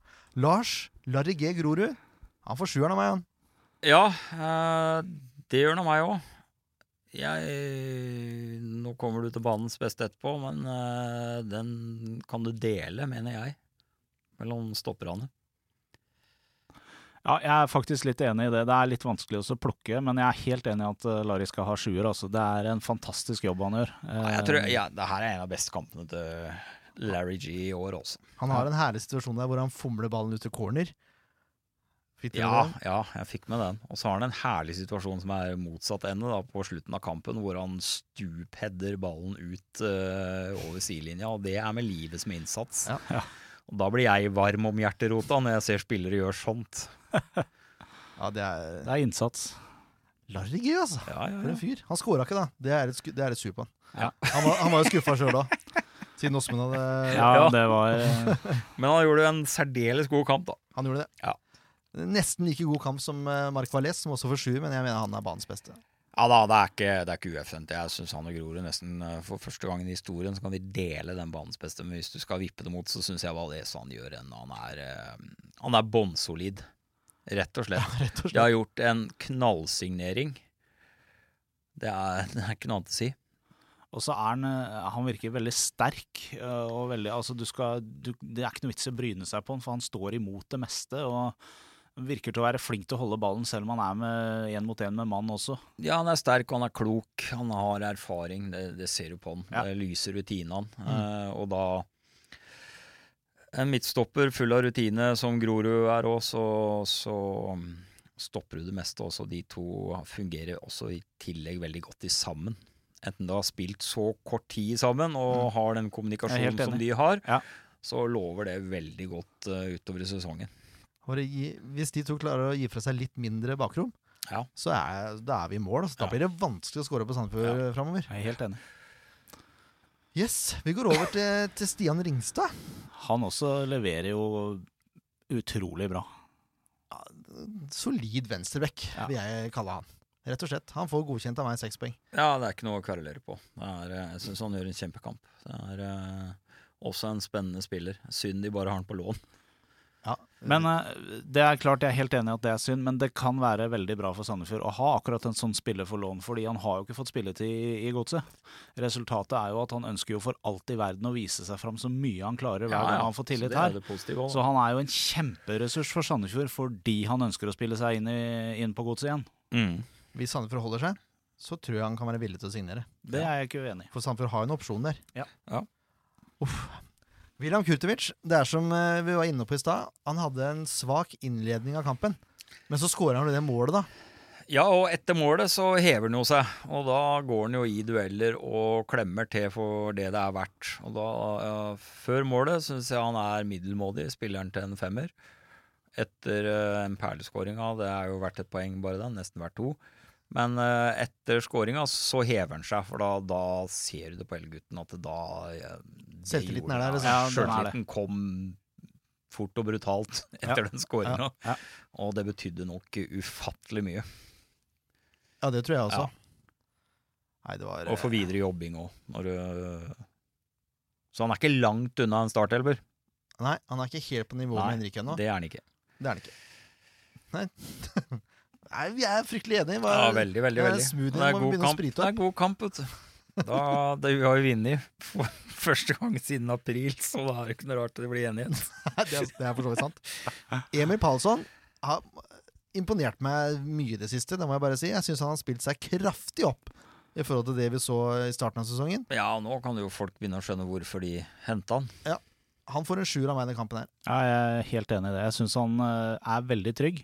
S2: Lars Larry G. Grorud. Han får sjueren av meg, han.
S3: Ja, eh, det gjør nå meg òg. Jeg Nå kommer du til banens beste etterpå, men eh, den kan du dele, mener jeg, mellom stopperne.
S1: Ja, jeg er faktisk litt enig i det. Det er litt vanskelig også å plukke, men jeg er helt enig i at eh, Larry skal ha sjuer. Altså. Det er en fantastisk jobb han gjør.
S3: Nei, Jeg
S1: Eh,
S3: tror, ja, det her er en av beste kampene til Larry G i år også.
S2: Han har en herlig situasjon der hvor han fomler ballen ut til corner. Fikk dere
S3: Ja,
S2: det?
S3: ja, jeg fikk med den. Og så har han en herlig situasjon som er motsatt ende da, på slutten av kampen, hvor han stupheader ballen ut eh, over sidelinja, og det er med livet som innsats.
S2: Ja.
S1: Ja.
S3: Og da blir jeg varm om hjerterota når jeg ser spillere gjøre sånt.
S2: Ja, det er
S1: Det er innsats.
S2: Larry G, altså.
S3: Ja, ja,
S2: For en fyr. Han scora ikke, da. Det er et, sku- det er et sug på han.
S3: Ja.
S2: Han, var, han var jo skuffa sjøl òg, siden Åsmund hadde
S1: Ja,
S3: Ja.
S1: det var eh,
S3: Men han gjorde jo en særdeles god kamp, da.
S2: Han gjorde det.
S3: Ja.
S2: Nesten like god kamp som eh, Mark Valles, som også får sjuer, men jeg mener han er banens beste. *laughs*
S3: Ja da, det er ikke, det er ikke ueffent. Jeg syns han og Grorud nesten eh, for første gangen i historien så kan de dele den banens beste, men hvis du skal vippe det mot, så syns jeg Valais han gjør en Han er, eh, han er bånnsolid, rett og slett.
S2: *laughs* Rett og
S3: De
S2: slett.
S3: har gjort en knallsignering. Det er, det er ikke noe annet å si.
S1: Og så er han eh, Han virker veldig sterk. eh, Og veldig, altså du skal, du, det er ikke noe vits i å bryne seg på han, for han står imot det meste. Og virker til å være flink til å holde ballen, selv om han er med én mot én med mann også.
S3: Ja, han er sterk, han er klok, han har erfaring. Det, det ser du på han.
S1: Ja. Mm.
S3: Det lyser rutinen han. Eh, og da En midtstopper full av rutine, som Grorud er òg, så, så mm, stopper du det meste også. De to fungerer også i tillegg veldig godt i sammen. Enten du har spilt så kort tid sammen og har den
S1: Mm. Jeg er helt
S3: kommunikasjonen som
S1: enig.
S3: de har,
S1: Ja.
S3: så lover det veldig godt eh, utover i sesongen.
S2: Bare gi, hvis de to klarer å gi fra seg litt mindre bakrom,
S3: Ja.
S2: så er, da er vi i mål. Altså. Da
S3: Ja.
S2: blir det vanskelig å score på Sandefjord
S3: Ja.
S2: ja. framover.
S1: Jeg er helt enig.
S2: Yes, vi går over til, til Stian Ringstad.
S1: Han også leverer jo utrolig bra.
S2: Solid venstreback,
S1: Ja.
S2: vil jeg kalle han. Rett og slett. Han får godkjent av meg seks poeng.
S3: Ja, det er ikke noe å kverulere på. Det er, eh, jeg syns han gjør en kjempekamp. Det er eh, også en spennende spiller. Synd de bare har han på lån.
S2: Ja.
S1: Men eh, det er klart jeg er helt enig i at det er synd, men det kan være veldig bra for Sandefjord å ha akkurat en sånn spiller for lån, fordi han har jo ikke fått spilletid i, i godset. Resultatet er jo at han ønsker jo for alt i verden å vise seg fram så mye han klarer hver gang han får
S3: Så det
S1: tillit
S3: er
S1: her.
S3: det positive også, da.
S1: Så han er jo en kjemperessurs for Sandefjord fordi han ønsker å spille seg inn, i, inn på godset igjen.
S3: Mm.
S2: Hvis Sandefjord holder seg, så tror jeg han kan være villig til å signere.
S1: Det er jeg ikke uenig i.
S2: For Sandefjord har jo en opsjon der.
S1: Ja.
S3: Ja.
S2: Uff. William Kurtovic, det er som eh, vi var inne på i stad, han hadde en svak innledning av kampen. Men så skårer han jo det målet, da.
S3: Ja, og etter målet så hever han jo seg. Og da går han jo i dueller og klemmer til for det det er verdt. Og da, eh, før målet syns jeg han er middelmådig, spilleren til en femmer. Etter eh, en perleskåringa, det er jo verdt et poeng bare den, nesten verdt to. Men eh, etter skåringa så hever han seg, for da, da ser du det på Elgutten at det da eh, det
S2: Selvtilliten
S3: gjorde
S2: er der,
S3: han.
S2: liksom.
S1: Ja, den er det.
S3: Selvtilliten kom fort og brutalt *laughs* etter den skåringa.
S1: Ja, ja.
S3: Og det betydde nok ufattelig mye.
S2: Ja, det tror jeg også.
S3: Ja.
S2: Nei, det var
S3: Og for videre jobbing òg. når du- øh, Så han er ikke langt unna en startelver.
S2: eh, Nei, han er ikke helt på nivå
S3: Nei,
S2: med Henrik ennå. Det...
S3: Det er han ikke.
S2: er han ikke. Nei. Nei, *laughs* vi er fryktelig enige. Hva...
S3: Ja, veldig, veldig,
S2: det er
S3: veldig.
S2: smoothie,
S3: Men det
S2: må
S3: er god
S2: begynne å
S3: kamp,
S2: sprite
S3: det er
S2: opp.
S3: god kamp vet du. Da, det, vi har jo vunnet for *laughs* første gang siden april, så da er det ikke noe rart det blir enighet.
S2: Nei, *laughs* det, er, det er for så vidt sant. Emil Palsson har imponert meg mye i det siste, det må jeg bare si. Jeg syns han har spilt seg kraftig opp i forhold til det vi så i starten av sesongen.
S3: Ja, nå kan jo folk begynne å skjønne hvorfor de henta han.
S2: Han får en sjuer av meg i den kampen her.
S1: Ja, jeg er helt enig i det. Jeg syns han eh, er veldig trygg.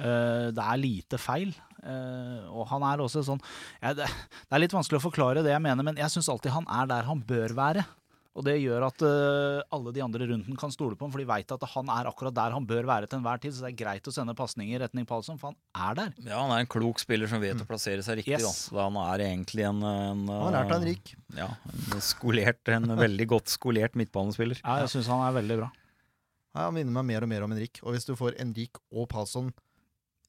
S1: Eh, Det er lite feil. eh, Og han er også sånn ja, Det det er litt vanskelig å forklare det jeg mener, men jeg syns alltid han er der han bør være. Og det gjør at eh, alle de andre rundt ham kan stole på ham, for de veit at han er akkurat der han bør være til enhver tid. Så det er greit å sende pasninger i retning Palsson, for han er der.
S3: Ja, Han er en klok spiller som vet å plassere seg riktig.
S1: Yes.
S3: Da. Så Han er egentlig en, en øh,
S2: Han har lært av Henrik.
S3: Ja, en, skolert, en veldig godt skolert midtbanespiller.
S1: Ja, jeg syns han er veldig bra.
S2: Ja, Han minner meg mer og mer om Henrik. Og hvis du får Henrik og Palsson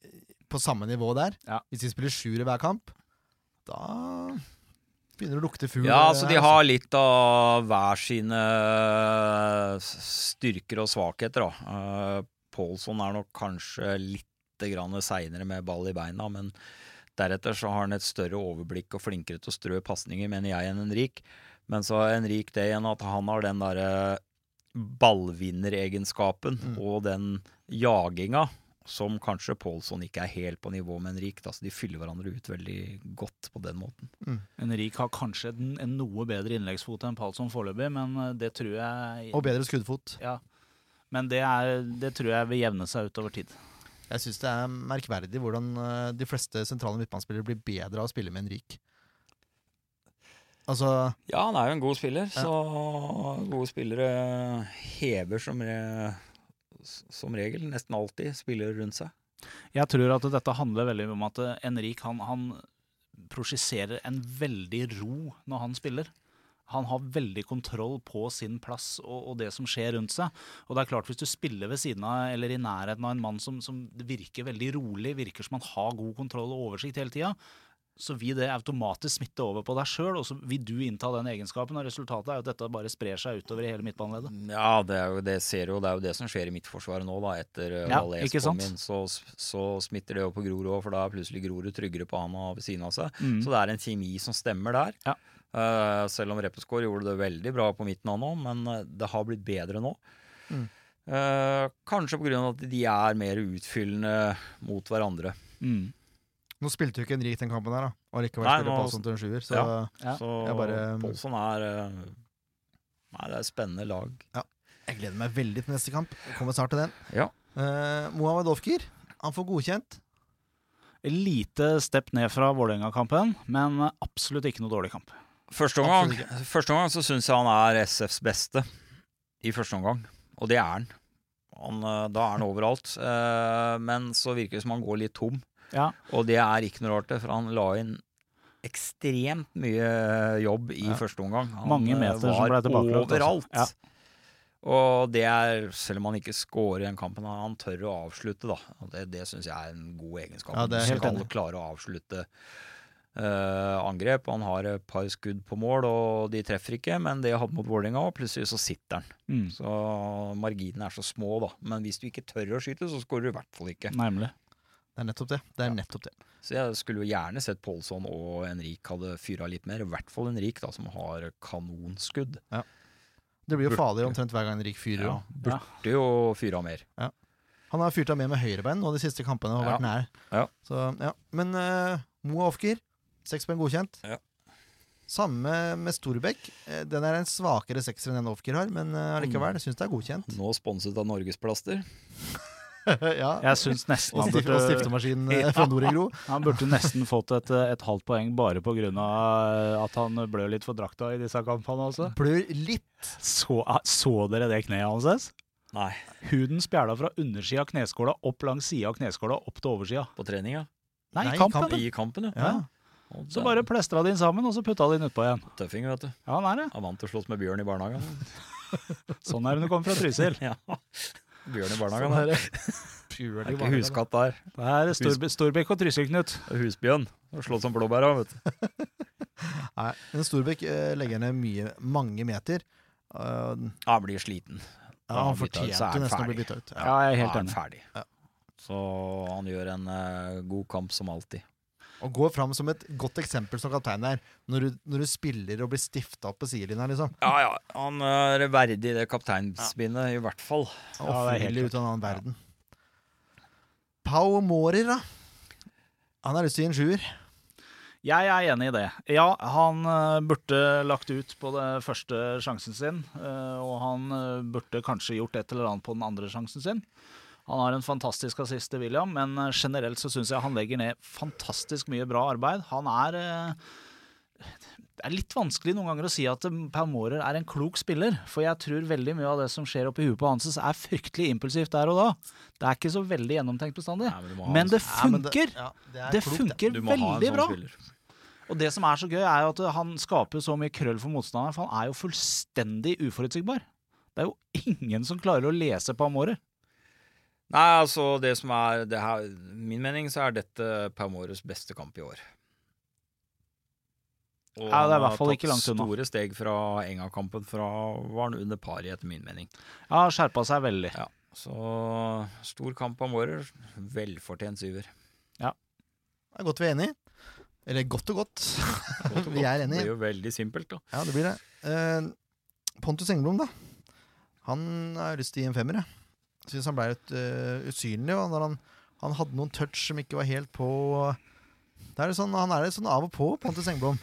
S2: eh, på samme nivå der,
S1: Ja.
S2: hvis de spiller sjuer i hver kamp, da begynner det å lukte fugl.
S3: Ja, så de
S2: her, altså.
S3: har litt av hver sine styrker og svakheter, da. Eh, Paulson er nok kanskje litt seinere med ball i beina, men deretter så har han et større overblikk og flinkere til å strø pasninger, mener jeg, enn Henrik. Men så er Henrik det igjen at han har den derre ballvinneregenskapen
S2: Mm.
S3: og den jaginga som kanskje Paulson ikke er helt på nivå med Henrik. Da, så de fyller hverandre ut veldig godt på den måten.
S1: Henrik har kanskje en, en noe bedre innleggsfot enn Palsson foreløpig, men eh, det tror jeg
S2: Og bedre skuddfot.
S1: Ja. Men det, er, det tror jeg vil jevne seg ut over tid.
S2: Jeg syns det er merkverdig hvordan eh, de fleste sentrale midtbanespillere blir bedre av å spille med Henrik. Altså
S3: Ja, han er jo en god spiller, så gode spillere hever som, re som regel, nesten alltid, spillere rundt seg.
S1: Jeg tror at dette handler veldig om at eh, Henrik han, han prosjiserer en veldig ro når han spiller. Han har veldig kontroll på sin plass og, og det som skjer rundt seg. Og det er klart Hvis du spiller ved siden av eller i nærheten av en mann som, som virker veldig rolig, virker som han har god kontroll og oversikt hele tida, så vil det automatisk smitte over på deg sjøl, og så vil du innta den egenskapen. Og resultatet er jo at dette bare sprer seg utover i hele midtbaneleddet.
S3: Ja, det er jo det, ser jo, det, er jo det som skjer i midtforsvaret nå, da, etter ja,
S1: Ja,
S3: Valais
S1: ikke sant?
S3: kom inn. Så, så smitter det jo på Grorud òg, for da er plutselig Grorud tryggere på han og ved siden av seg.
S1: Mm.
S3: Så det er en kjemi som stemmer der.
S1: Ja.
S3: Eh, selv om Reppeskår gjorde det veldig bra på midten, han òg, men eh, det har blitt bedre nå.
S2: Mm.
S3: Eh, kanskje pga. at de er mer utfyllende mot hverandre.
S1: Mm.
S2: Nå spilte jo ikke Henrik den kampen her, da. Og likevel
S3: Nei,
S2: spiller
S3: nå-
S2: Paulson til en sjuer. Så
S3: Ja.
S1: Ja,
S3: Så
S2: jeg bare-
S1: um,
S3: Paulson er eh, Nei, det er et spennende lag.
S2: jeg gleder meg veldig til neste kamp. Jeg kommer snart til den.
S3: Ja.
S2: Eh, Mohamed Ofker, han får godkjent.
S1: Lite stepp ned fra Vålerenga-kampen, men absolutt ikke noe dårlig kamp.
S3: Første omgang, første omgang så syns jeg han er SFs beste i første omgang, og det er han. han eh, da er han overalt, eh, men så virker det som han går litt tom.
S1: Ja.
S3: Og det er ikke noe rart, det, for han la inn ekstremt mye jobb i
S1: Ja.
S3: første omgang. Han
S1: Mange
S3: eh,
S1: meter som
S3: var
S1: ble tilbakelagt også.
S3: Overalt.
S1: Ja.
S3: Og det er, selv om han ikke scorer i den kampen, han tør å avslutte, da. Og det det syns jeg er en god egenskap.
S2: Ja, det er
S3: du
S2: jeg helt
S3: skal
S2: enig
S3: klare å avslutte eh, angrep. Han har et par skudd på mål, og de treffer ikke, men det hadde mot Vålerenga òg. Plutselig så sitter han.
S1: Mm.
S3: Så marginene er så små, da. Men hvis du ikke tør å skyte, så scorer du i hvert fall ikke.
S1: Nemlig.
S2: Det er nettopp det. Det er nettopp det.
S3: Så jeg skulle jo gjerne sett Pålsson og Henrik hadde fyra litt mer. I hvert fall Henrik, da, som har kanonskudd.
S2: Det blir jo
S3: Burde-
S2: farlig omtrent hver gang Henrik fyrer.
S3: Ja.
S2: også.
S1: Ja.
S3: Det er jo fyra mer.
S2: Han har fyrt av med med høyrebein nå de siste kampene og vært nær.
S3: Ja.
S2: Så, ja. Men uh, Moa Ofker, seks poeng godkjent.
S3: Ja.
S2: Samme med Storbekk. Eh, Den er en svakere sekser enn den Ofker har, men eh, allikevel, jeg syns det er godkjent. *laughs*
S3: Nå sponset av Norgesplaster.
S2: ja.
S1: Jeg syns
S2: *laughs*
S1: nesten
S2: Og
S1: han
S2: stif- og
S1: burde,
S2: stiftemaskin eh, fra Norengro.
S1: han burde nesten fått et, eh, et halvt poeng bare pga. eh, at han blør litt for drakta i disse kampene også.
S2: Blør litt.
S1: Så, ah, så dere det kneet hans?
S3: Nei,
S1: Huden spjæla fra undersida av kneskåla opp langs sida av kneskåla opp til oversida.
S3: på trening, ja.
S1: Nei,
S2: Nei,
S1: kampen.
S2: kampen.
S3: I kampen, ja.
S2: Ja.
S3: Og
S1: Så
S3: det-
S1: bare plestra de inn sammen, og så putta de den utpå igjen.
S3: Tøffing, vet du.
S1: Ja, han er det.
S3: Han vant til å slåss med bjørn i barnehagen.
S1: Sånn er det når du kommer fra Trysil.
S3: ja. Bjørn i barnehagen.
S1: Sånn er
S3: da.
S1: det.
S3: Det er ikke huskatt der.
S1: Det er Storbe- Storbekk og Trysil-Knut.
S3: Det er Husbjørn. Slått som blåbæra, vet du.
S2: Nei, men Storbekk eh, legger ned mye, mange meter. Eh,
S3: Ja, han blir sliten.
S2: ja,
S3: Ja,
S2: han
S3: bytta ut, så er
S2: fortjente
S3: han
S2: nesten å bli
S3: ferdig.
S2: bytta ut. Ja.
S1: Ja, jeg er
S3: Da
S1: helt
S3: er han
S1: enig.
S3: ferdig.
S2: Ja.
S3: Så han gjør en eh, god kamp som alltid.
S2: Og går fram som et godt eksempel som kaptein der, når du, når du spiller og blir stifta opp på sidelinja, liksom.
S3: Ja, ja. Han eh, er verdig det kapteinsbindet, i hvert fall.
S2: Og
S1: Ja, det er helt
S2: fyller ut av en annen verden. Pau Mårer, da. Han har lyst til å gi en sjuer.
S1: Jeg er enig i det. Ja, han eh, burde lagt ut på den første sjansen sin. eh, og han eh, burde kanskje gjort et eller annet på den andre sjansen sin. Han har en fantastisk assist til William, men eh, generelt så syns jeg han legger ned fantastisk mye bra arbeid. Han er eh, Det er litt vanskelig noen ganger å si at eh, Per Mårer er en klok spiller, for jeg tror veldig mye av det som skjer oppi huet på Hanses er fryktelig impulsivt der og da. Det er ikke så veldig gjennomtenkt bestandig.
S3: Nei, men du må ha
S1: Men
S3: en-
S1: det
S2: altså, Ja, men det-
S1: funker!
S2: ja, det, er
S1: Det
S2: klokt, det.
S1: funker
S3: Du må ha en
S1: veldig
S3: sånn
S1: bra.
S3: spiller.
S1: Og det som er så gøy, er jo at han skaper jo så mye krøll for motstanderen, for han er jo fullstendig uforutsigbar. Det er jo ingen som klarer å lese på ham året.
S3: Nei, altså det som er det her, Min mening så er dette Paumores beste kamp i år. Og
S1: Ja, det er i
S3: han har
S1: hvert fall
S3: tatt
S1: ikke langt unna.
S3: Store steg fra Enga-kampen. Fra var han under par i, etter min mening.
S1: Ja, skjerpa seg veldig.
S3: Så stor kamp av Mårer. Velfortjent
S2: *laughs*
S3: syver.
S2: Det er godt vi er enige. Eller godt og godt. Vi er
S3: Det
S2: enige.
S3: blir jo veldig simpelt, da.
S2: Ja, det blir det. Eh, Pontus Engblom, da. Han har lyst til å gi en femmer, jeg. Syns han ble litt eh, usynlig. Og når han, han hadde noen touch som ikke var helt på det er jo sånn, Han er litt sånn av og på, Pontus Engblom.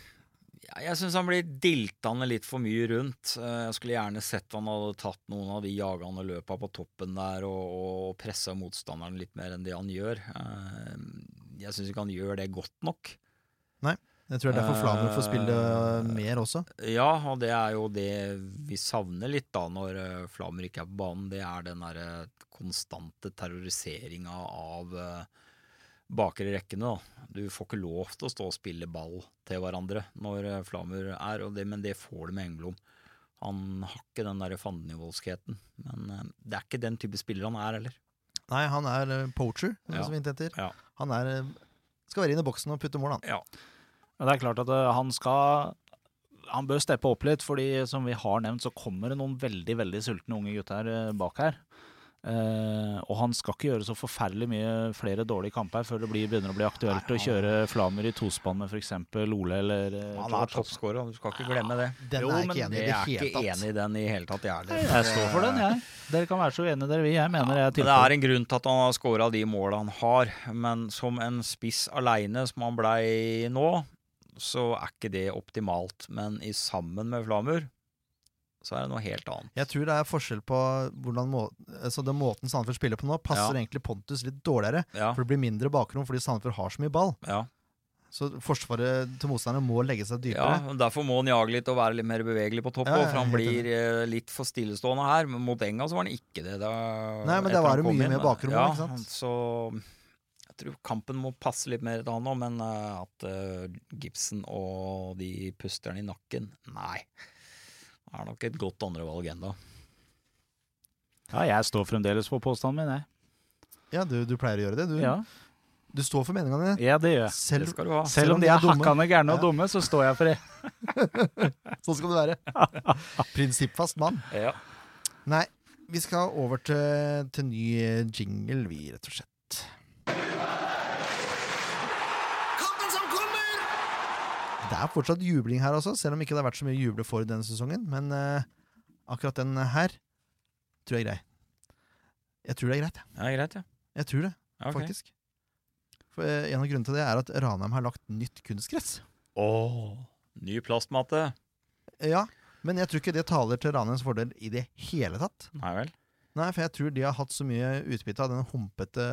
S3: Ja, jeg syns han blir diltende litt for mye rundt. Eh, Jeg skulle gjerne sett han hadde tatt noen av de jagende løpa på toppen der og, og pressa motstanderen litt mer enn det han gjør. Eh, Jeg syns ikke han gjør det godt nok.
S2: Jeg tror det er derfor Flamur får spille
S3: Eh,
S2: mer også.
S3: Ja, og det er jo det vi savner litt da når eh, Flamer ikke er på banen. Det er den derre konstante terroriseringa av eh, bakre rekkene. da. Du får ikke lov til å stå og spille ball til hverandre når eh, Flamer er, og det, men det får du med Engblom. Han har ikke den derre fandenivoldskheten. Men eh, det er ikke den type spiller han er heller.
S2: Nei, han er eh, poacher, som
S3: Ja.
S2: vi er ute etter.
S3: Ja.
S2: Han er, eh, skal være inn i boksen og putte mål, han.
S1: Men det er klart at eh, han skal Han bør steppe opp litt, fordi som vi har nevnt, så kommer det noen veldig, veldig sultne unge gutter eh, bak her. Eh, og han skal ikke gjøre så forferdelig mye flere dårlige kamper før det blir, begynner å bli aktuelt
S3: Nei,
S1: å kjøre flammer i tospann med f.eks. Ole eller eh,
S3: Han er
S1: George, altså.
S3: toppscorer, du skal ikke glemme det.
S2: Den
S1: Jo,
S2: er
S1: men
S2: jeg ikke enig i det
S3: Jeg er
S2: hele
S3: ikke
S2: tatt.
S3: enig i den i hele tatt, jeg heller.
S1: Jeg står for den, jeg. Dere kan være så uenige dere vil. Jeg mener det er
S3: Men det er
S1: tilfellet.
S3: en grunn til at han har scora de måla han har, men som en spiss aleine, som han blei nå, så er ikke det optimalt. Men i sammen med Flamur, så er det noe helt annet.
S2: Jeg tror det er forskjell på hvordan må, altså den måten Sandefjord spiller på nå, passer
S3: Ja.
S2: egentlig Pontus litt dårligere.
S3: Ja,
S2: For det blir mindre bakrom fordi Sandefjord har så mye ball.
S3: ja.
S2: Så forsvaret til motstanderne må legge seg
S3: ja
S2: dypere.
S3: og Derfor må han jage litt og være litt mer bevegelig på topp,
S2: Ja, ja,
S3: også, for han
S2: helt
S3: blir eh, litt for stillestående her. Men mot Enga så var han ikke det. Da,
S2: Nei, men
S3: etter
S2: der var det
S3: han kom
S2: mye
S3: inn.
S2: mer bakrom,
S3: ja,
S2: ikke sant?
S3: Så jeg tror kampen må passe litt mer til han nå, men eh, at eh, Gibson og de puster han i nakken, nei. Det er nok et godt andrevalg ennå.
S1: Ja, jeg står fremdeles på påstanden min, jeg.
S2: Ja, du, du pleier å gjøre det. Du,
S1: Ja,
S2: du står for meningene dine.
S1: ja det gjør jeg.
S3: Det
S2: Selv,
S3: skal du ha.
S1: Selv om de er
S2: dumme.
S1: hakkande gærne og
S2: Ja.
S1: dumme, så står jeg for det.
S2: sånn skal du være.
S3: *laughs*
S2: Prinsippfast mann.
S3: Ja.
S2: Nei, vi skal over til, til ny eh, jingle, vi, rett og slett. Det er fortsatt jubling her også, selv om ikke det har vært så mye juble for denne sesongen. Men eh, akkurat den her tror jeg er grei. Jeg tror det er greit, jeg.
S3: Ja, greit, ja.
S2: Jeg tror det,
S3: Ja, ok.
S2: faktisk. For eh, En av grunnene til det er at Ranheim har lagt nytt kunstgress.
S3: Ny plastmatte.
S2: Ja, men jeg tror ikke det taler til Ranheims fordel i det hele tatt.
S3: Nei
S2: *laughs*
S3: vel.
S2: Nei, for jeg tror de har hatt så mye utbytte av den humpete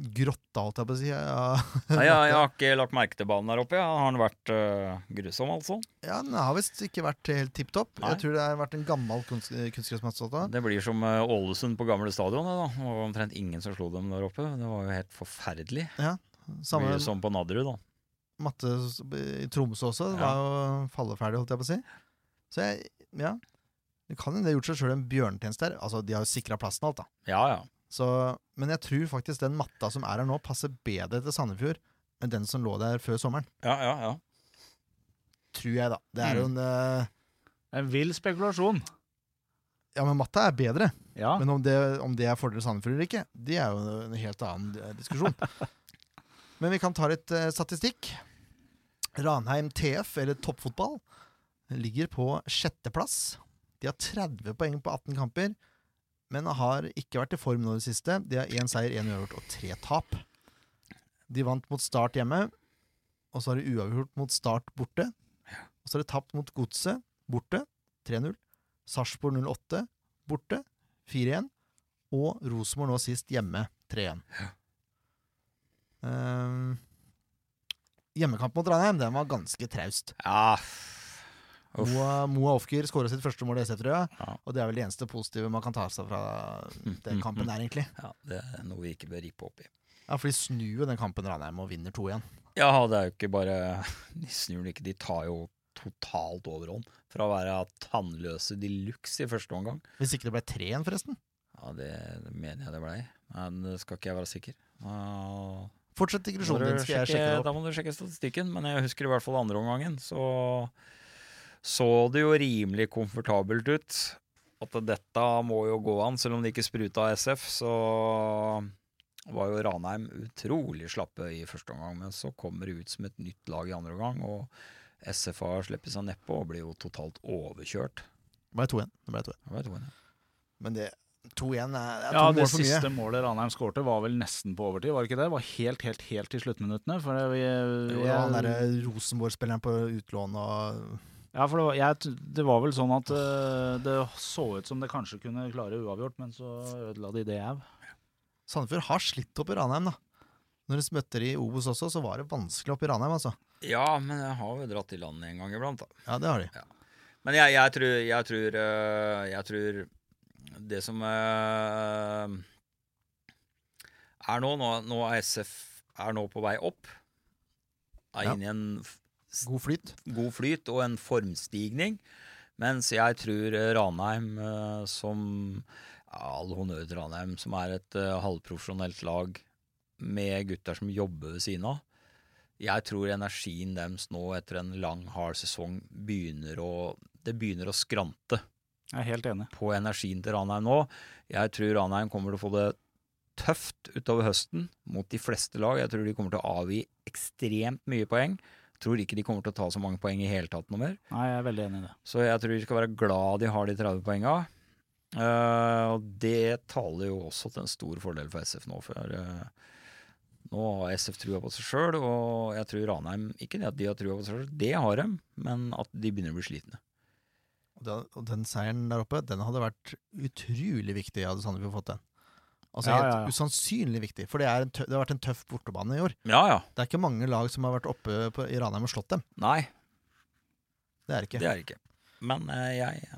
S2: grotta, holdt jeg på å si. Ja,
S3: Nei, jeg, jeg har ikke lagt merke til banen der oppe. Ja. Har den vært øh, grusom, altså?
S2: *laughs* ja den har visst ikke vært helt tipp topp.
S3: Nei.
S2: Jeg tror det har vært en gammel kunst, kunstgressmatte.
S3: Det blir som øh, Ålesund på gamle stadion. det, da. Det var omtrent ingen som slo dem der oppe. Det var jo helt forferdelig. Det
S2: Samme
S3: blir jo som på Nadderud, da.
S2: matte s- i Tromsø også. Det
S3: Ja.
S2: var jo falleferdig, holdt jeg på å si. Så jeg, ja Det kan hende de har gjort seg sjøl en bjørnetjeneste her. Altså, de har jo sikra plassen og alt, da.
S3: Ja ja.
S2: Så, men jeg tror faktisk den matta som er her nå, passer bedre til Sandefjord enn den som lå der før sommeren.
S3: Ja, ja, ja.
S2: Tror jeg, da. Det er jo en eh,
S1: En vill spekulasjon.
S2: Ja, men matta er bedre.
S1: Ja.
S2: Men om det, om det er fordel Sandefjord eller ikke, det er jo en helt annen eh, diskusjon. Men vi kan ta litt eh, statistikk. Ranheim TF, eller toppfotball, ligger på sjetteplass. De har 30 poeng på 18 kamper, men har ikke vært i form nå i det siste. De har én seier, én uavgjort og tre tap. De vant mot Start hjemme, og så har de uavgjort mot Start borte. Og så har de tapt mot Godset borte, 3-0. Sarpsborg 08 borte, 4-1. Og Rosenborg nå sist hjemme 3-1. Ehm, hjemmekamp mot Ranheim den var ganske traust.
S3: ja. Uff.
S2: Moa, Moa Ofker skåra sitt første mål i E SF, tror jeg.
S3: Ja.
S2: Og det er vel det eneste positive man kan ta seg fra den kampen der, egentlig.
S3: Ja, det er noe vi ikke bør rippe opp i.
S2: Ja, For de snur jo den kampen Ranheim og vinner 2 igjen.
S3: Ja, det er jo ikke bare *laughs* De snur det ikke, de tar jo totalt overhånd. Fra å være tannløse de luxe i første omgang.
S2: Hvis ikke det ble 3 igjen, forresten.
S3: Ja, det mener jeg det blei. Men det skal ikke jeg være sikker. Ah,
S2: Fortsett
S3: må du
S2: digresjonen din, skal jeg
S3: sjekke-
S2: sjekke det opp.
S3: Da må du sjekke statistikken, men jeg husker i hvert fall andre omgangen. Så så det jo rimelig komfortabelt ut. At dette må jo gå an, selv om det ikke spruta SF, så var jo Ranheim utrolig slappe i første omgang. Men så kommer det ut som et nytt lag i andre omgang, og SF har sluppet seg nedpå og blir jo totalt overkjørt.
S2: Det ble 2 igjen. Det ble 2 igjen.
S3: Det var et ord, ja.
S2: Men det 2 igjen er, er to
S1: Ja, det
S2: mål for mye.
S1: siste målet Ranheim skårte, var vel nesten på overtid, var det ikke det? Det var helt, helt, helt i sluttminuttene. For det, vi,
S2: Jo, det var han derre Rosenborg-spilleren på utlån og
S1: ja, for det, var, jeg, t- det var vel sånn at eh, det så ut som det kanskje kunne klare uavgjort, men så ødela de det òg.
S2: Sandefjord har slitt opp i Ranheim, da. Når de møtte de i Obos også, så var det vanskelig opp i Ranheim, altså.
S3: ja, men jeg har jo dratt i land en gang iblant, da.
S2: Ja, det har de.
S3: Men jeg, jeg tror jeg tror, øh, jeg tror det som øh, er nå, nå, nå er SF er nå på vei opp. Er
S2: Ja.
S3: inne i en f-
S2: God flyt.
S3: god flyt og en formstigning. Mens jeg tror øh, Ranheim øh, som ja, All honnør til Ranheim, som er et øh, halvprofesjonelt lag med gutter som jobber ved siden av. Jeg tror energien deres nå etter en lang, hard sesong begynner å Det begynner å skrante.
S1: Jeg er helt enig.
S3: på energien til Ranheim nå. Jeg tror Ranheim kommer til å få det tøft utover høsten mot de fleste lag. Jeg tror de kommer til å avgi ekstremt mye poeng. Tror ikke de kommer til å ta så mange poeng i hele tatt noe mer.
S1: Nei, jeg er veldig enig i det.
S3: Så jeg tror de skal være glad de har de 30 poenga. Eh, og det taler jo også til en stor fordel for SF nå. For eh, nå har SF trua på seg sjøl, og jeg tror Ranheim Ikke det at de har trua på seg sjøl, det har de, men at de begynner å bli slitne.
S2: Og den, og den seieren der oppe, den hadde vært utrolig viktig, hadde Sandefjord fått den. Altså
S1: Ja,
S2: helt
S1: ja, ja.
S2: usannsynlig viktig, for det, er en tø det har vært en tøff bortebane i år.
S3: Ja ja.
S2: Det er ikke mange lag som har vært oppe på, i Ranheim og slått dem.
S3: Nei,
S2: Det er det ikke.
S3: Det er det ikke. Men eh, jeg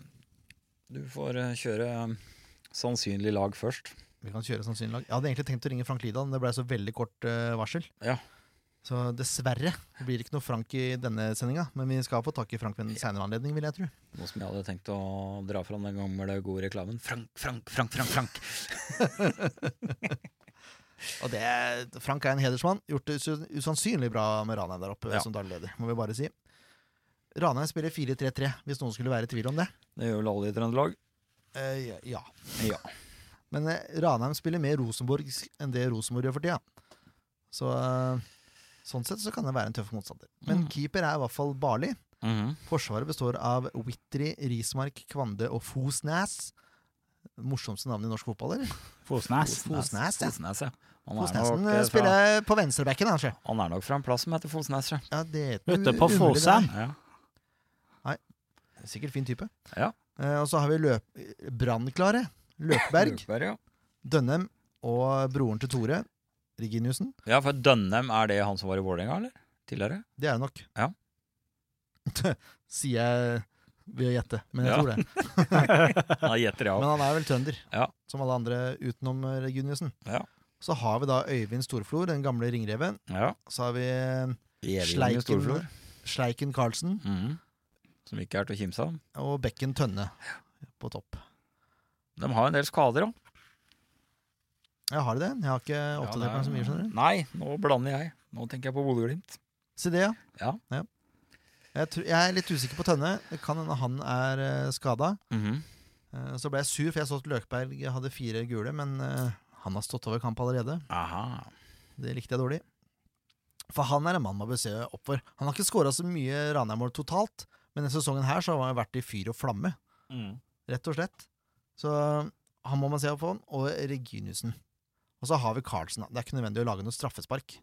S3: Du får eh, kjøre eh, sannsynlig lag først.
S2: Vi kan kjøre sannsynlig lag. Jeg hadde egentlig tenkt å ringe Frank Lidan, men det ble så veldig kort eh, varsel.
S3: Ja.
S2: Så dessverre blir det ikke noe Frank i denne sendinga, men vi skal få tak i Frank ved en seinere anledning, vil jeg tro.
S3: Noe som jeg hadde tenkt å dra fram den gangen med den gode reklamen. Frank, Frank, Frank, Frank! Frank
S2: Og det, Frank er en hedersmann. Gjort det usan- usannsynlig bra med Ranheim der oppe
S3: Ja.
S2: som daglig leder, må vi bare si. Ranheim spiller 4-3-3, hvis noen skulle være i tvil om det.
S3: Det gjør vel alle i Trøndelag.
S2: Eh, ja.
S3: Ja.
S2: Men eh, Ranheim spiller mer Rosenborg enn det Rosenborg gjør for tida. Så eh, sånn sett så kan det være en tøff motstander. Men
S3: Mm.
S2: keeper er i hvert fall Barli.
S3: Mhm.
S2: Forsvaret består av Whitry, Rismark, Kvande og Fosnæs. Morsomste navn i norsk fotball, eller?
S1: Fosnes.
S2: Fosnæs, ja.
S3: Fosnes, ja. Han er,
S2: Fosnæsen
S3: nok,
S2: eh,
S3: eh, fra,
S2: spiller på venstrebacken, kanskje.
S3: han er nok fra en plass som heter Fosnes,
S2: *laughs*
S3: ja.
S2: Ja, det er ikke
S1: Ute
S2: umulig,
S1: på
S2: det
S1: Fosheim.
S3: ja.
S2: der. Sikkert fin type.
S3: Ja.
S2: Eh, og så har vi løp... Brannklare.
S3: *clears throat*
S2: Løkberg,
S3: Løkberg, ja.
S2: Dønnem og broren til Tore, Reginiussen.
S3: ja, for Dønnem, er det han som var i Vålerenga, eller? Tidligere?
S2: Det er det nok.
S3: Ja.
S2: *laughs* Sier jeg ved å gjette, men jeg
S3: Ja.
S2: tror
S3: *laughs*
S2: det.
S3: Da gjetter jeg
S2: Men *laughs*
S3: av.
S2: han er vel trønder,
S3: Ja.
S2: som alle andre utenom eh, Reginiussen.
S3: Ja.
S2: Så har vi da Øyvind Storflor, den gamle ringreven.
S3: Ja.
S2: Så har vi
S3: Evig
S2: Sleiken.
S3: Storflor.
S2: Sleiken Karlsen
S3: Mhm. Som ikke er til å kimse av.
S2: og Bekken Tønne på topp.
S3: De har en del skader, ja.
S2: Jeg har de det? Jeg har ikke oppdatert
S3: Ja, det er-
S2: meg så mye. skjønner du.
S3: Nei, nå blander jeg. Nå tenker jeg på Bodø-Glimt.
S2: Se det, ja.
S3: Ja.
S2: Jeg, tror, jeg er litt usikker på Tønne. Det kan hende han er uh, skada.
S3: Mhm.
S2: så ble jeg sur, for jeg så at Løkberg hadde fire gule, men eh, han har stått over kamp allerede.
S3: Aha.
S2: Det likte jeg dårlig. For han er en mann man bør se opp for. Han har ikke skåra så mye Ranheim-mål totalt, men denne sesongen her så har han vært i fyr og flamme,
S1: Mm.
S2: rett og slett. Så han må man se opp for, og Reginiussen. Og så har vi Carlsen. da. Det er ikke nødvendig å lage noe straffespark.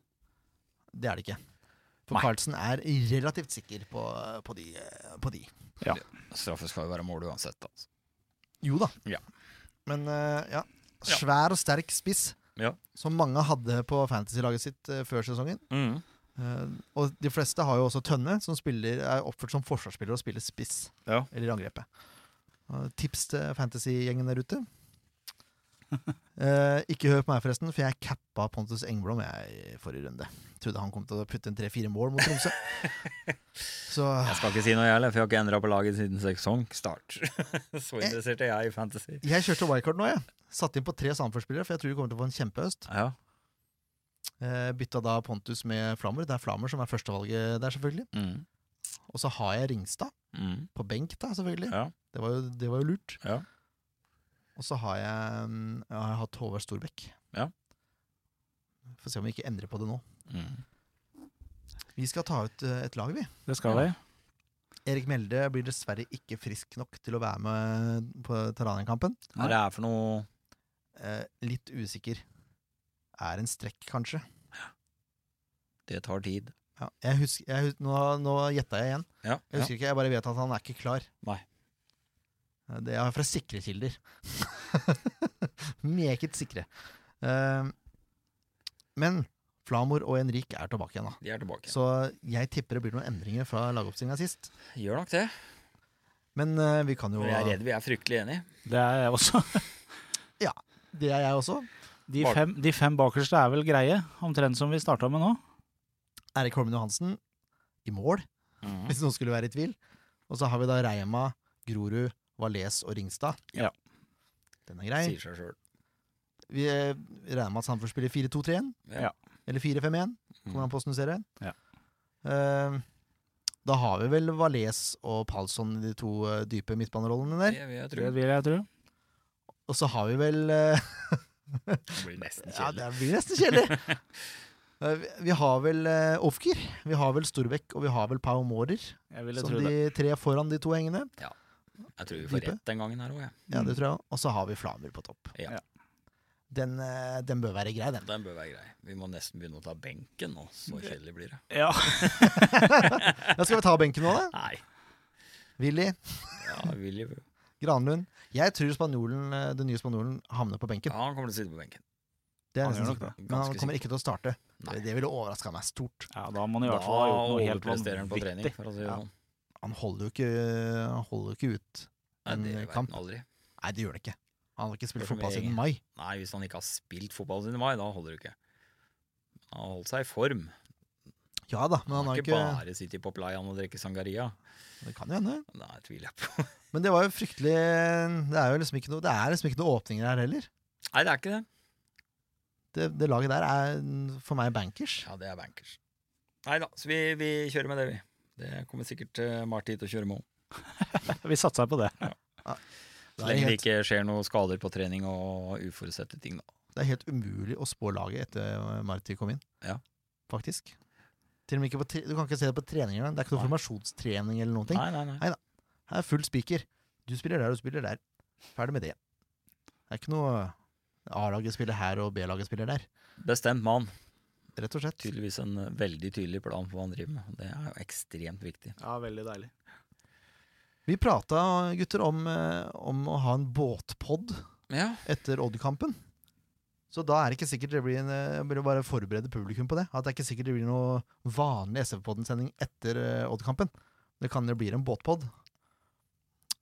S2: Det er det ikke. For
S3: Nei.
S2: Carlsen er relativt sikker på, på, de, på de.
S3: Straffe skal jo være mål uansett. Altså.
S2: Jo da.
S3: Ja.
S2: Men eh, ja. Svær og sterk spiss,
S3: Ja.
S2: som mange hadde på fantasy-laget sitt eh, før sesongen.
S3: Mm.
S2: Eh, og de fleste har jo også Tønne, som spiller, er oppført som forsvarsspiller og spiller spiss.
S3: Ja.
S2: Eller i angrepet. Og tips til fantasy-gjengen der ute. Eh, ikke hør på meg, forresten, for jeg cappa Pontus Engblom jeg i forrige runde. Trodde han kom til å putte en tre-fire mål mot Tromsø. Så
S3: Jeg skal ikke si noe, jeg heller, for jeg har ikke endra på laget siden sesongstart. *laughs* Så interessert er jeg i fantasy.
S2: jeg kjørte wildcard nå, jeg. Satt inn på tre Sandefjord-spillere, for jeg tror de kommer til å få en kjempehøst.
S3: Ja.
S2: Eh, bytta da Pontus med Flammer. Det er Flammer som er førstevalget der, selvfølgelig.
S3: Mhm.
S2: Og så har jeg Ringstad
S3: Mhm.
S2: på benk, da, selvfølgelig.
S3: Ja.
S2: Det, var jo, det var jo lurt.
S3: Ja.
S2: Og så har jeg, mm, ja, jeg har hatt Håvard Storbekk.
S3: Ja.
S2: Får se om vi ikke endrer på det nå.
S3: Mhm.
S2: Vi skal ta ut eh, et lag, vi.
S1: Det skal vi.
S2: Erik Melde blir dessverre ikke frisk nok til å være med på Terranienkampen.
S3: Hva er det her for noe
S2: Eh, litt usikker. Er en strekk, kanskje.
S3: Det tar tid.
S2: Ja, jeg husker, jeg hus- nå nå gjetta jeg igjen.
S3: Ja.
S2: Jeg husker ikke, jeg bare vet at han er ikke klar.
S3: Nei.
S2: Eh, Det er fra sikre kilder. *laughs* Meget sikre. Eh, men Flamor og Henrik er tilbake igjen, da.
S3: De er tilbake.
S2: Så jeg tipper det blir noen endringer fra lagoppstillinga sist.
S3: Gjør nok det.
S2: Men eh, vi kan jo
S3: Men jeg er redd vi er fryktelig enige.
S1: Det er jeg også.
S2: Det er jeg også.
S1: De
S3: Bak-
S1: fem, de fem bakerste er vel greie, omtrent som vi starta med nå.
S2: Erik Holmen Johansen i mål,
S3: Mhm.
S2: hvis noen skulle være i tvil. Og så har vi da Reima, Grorud, Valais og Ringstad.
S1: Ja.
S2: Den er grei.
S3: Sier seg sjøl.
S2: Vi eh, regner med at Sandefjord spiller 4-2-3-1.
S3: Ja.
S2: Eller 4-5-1, kommer
S3: Mm.
S2: an på hvordan du ser det.
S1: Ja.
S2: Eh, Da har vi vel Valais og Palsson i de to eh, dype midtbanerollene der.
S3: Det vil jeg
S1: Det
S3: tro.
S1: vil jeg tro.
S2: Og så har vi vel eh,
S3: Det blir nesten
S2: Ja,
S3: kjedelig.
S2: det blir nesten kjedelig.
S1: *laughs*
S2: Eh, vi- Vi har vel eh, Ofker, vi har vel Storbekk og vi har vel Pau Mårer
S1: Jeg ville
S2: som
S1: tro det.
S2: de tre foran de to hengende.
S3: Jeg tror vi får
S2: Dype.
S3: rett den gangen her òg, jeg.
S2: Ja,
S1: Mm.
S2: det tror jeg også. Og så har vi Flamer på topp.
S3: Ja.
S1: Ja.
S2: Den, eh, den bør være
S1: *laughs*
S2: grei, den.
S3: Den bør være grei. Vi må nesten begynne å ta benken nå, så kjedelig blir det.
S1: Ja,
S2: Ja, skal vi ta benken nå, da?
S3: Nei.
S2: Willy,
S3: Ja, Willy ja,
S2: Granlund. Jeg tror spanjolen, eh, den nye spanjolen havner på benken.
S3: han kommer til å sitte på benken.
S2: Det er
S1: han
S2: nesten
S1: gjør nok
S2: sikkert.
S1: det.
S2: Men han
S3: Ganske
S2: kommer ikke til å starte.
S3: Nei.
S2: Det ville overraska meg stort.
S1: ja da må han i
S3: Da
S1: hvert fall ha gjort noe helt
S3: overpresterer han på trening,
S1: vanvittig.
S3: for å si det
S2: Ja.
S3: sånn.
S2: Han holder jo ikke, han holder jo ikke ut.
S3: Nei,
S2: En
S3: det vet
S2: kamp.
S3: han aldri.
S2: Nei, det gjør han ikke. Han har ikke
S3: Det
S2: spilt
S3: er for
S2: fotball
S3: mye
S2: siden mai.
S3: Nei, hvis han ikke har spilt fotball siden mai, da holder det ikke. Han har holdt seg i form.
S2: Ja da, men han
S3: Han har
S2: har
S3: ikke
S2: ikke
S3: bare sittet i Poplayan og drukket sangaria.
S2: Det kan jo hende.
S3: Nei, tviler jeg på.
S2: Men det var jo fryktelig Det er jo liksom ikke noe, det er liksom ikke noe åpninger her heller.
S3: Nei, det er ikke det.
S2: Det, det laget der er for meg bankers.
S3: Ja, det er bankers. Nei da, så vi, vi kjører med det, vi. Det kommer sikkert eh, Marty til å kjøre med òg. sånn.
S1: Vi satser på det.
S2: Det
S3: Så
S2: er,
S3: lenge det
S2: helt,
S3: ikke skjer noen skader på trening og uforutsette ting, da.
S2: det er helt umulig å spå laget etter Marti kom inn.
S3: Ja.
S2: Faktisk. Til og med ikke på, tre- du kan ikke se det på trening engang. Det er ikke noe
S3: Nei.
S2: formasjonstrening eller noen ting.
S3: Nei, nei, nei.
S2: Her er full spiker. Du spiller der, og du spiller der. Ferdig med det. Det er ikke noe A-laget spiller her og B-laget spiller der.
S3: Bestemt mann.
S2: Rett og slett.
S3: Tydeligvis en eh, veldig tydelig plan for hva han driver med. Det er jo ekstremt viktig.
S1: Ja, veldig deilig.
S2: Vi prata, gutter, om, eh, om å ha en båtpod
S3: Ja,
S2: etter Odd-kampen. Så da er det ikke sikkert det blir en eh, Jeg vil jo bare forberede publikum på det. At det er ikke sikkert det blir noe vanlig SV-podden-sending etter eh, Odd-kampen. Det kan jo bli en båtpod.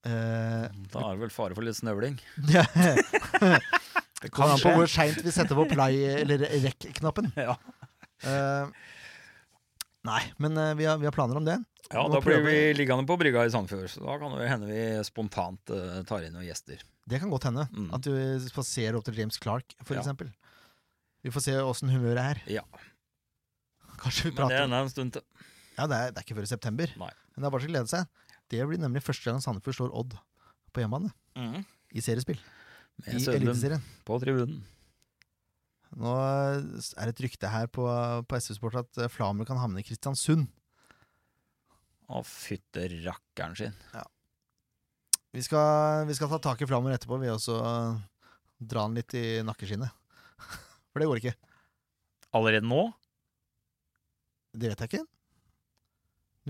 S2: Eh,
S3: da er det vel fare for litt snøvling.
S2: det kommer an på hvor seint vi setter på play- eller rekk-knappen.
S3: Ja,
S2: Eh, nei, men eh, vi, har, vi har planer om det.
S3: ja
S2: Må
S3: da blir vi
S2: prøve.
S3: liggende på brygga i Sandfjord, så da kan det jo hende vi spontant eh, tar inn noen gjester.
S2: Det kan godt hende.
S3: Mm.
S2: At du spaserer opp til James Clark, for
S3: Ja.
S2: eksempel. Vi får se åssen humøret er. *laughs*
S3: Ja.
S2: Kanskje vi
S3: Men det
S2: prater
S3: er en stund til.
S2: Ja, det er, det er ikke før i september.
S3: Nei.
S2: Men det er bare til å glede seg. Det blir nemlig første gang Sandefjord slår Odd på hjemmebane
S3: Mhm.
S2: i seriespill. I
S3: Med Sødlund
S2: Eliteserien.
S3: på tribunen.
S2: Nå er det et rykte her på, på SV Sport at eh, Flamer kan havne i Kristiansund.
S3: Å, fytte rakkeren sin.
S2: Vi skal, vi skal ta tak i Flamer etterpå, vi også. eh, Dra han litt i nakkeskinnet. *laughs* For det går ikke.
S3: Allerede nå?
S2: Det vet jeg ikke.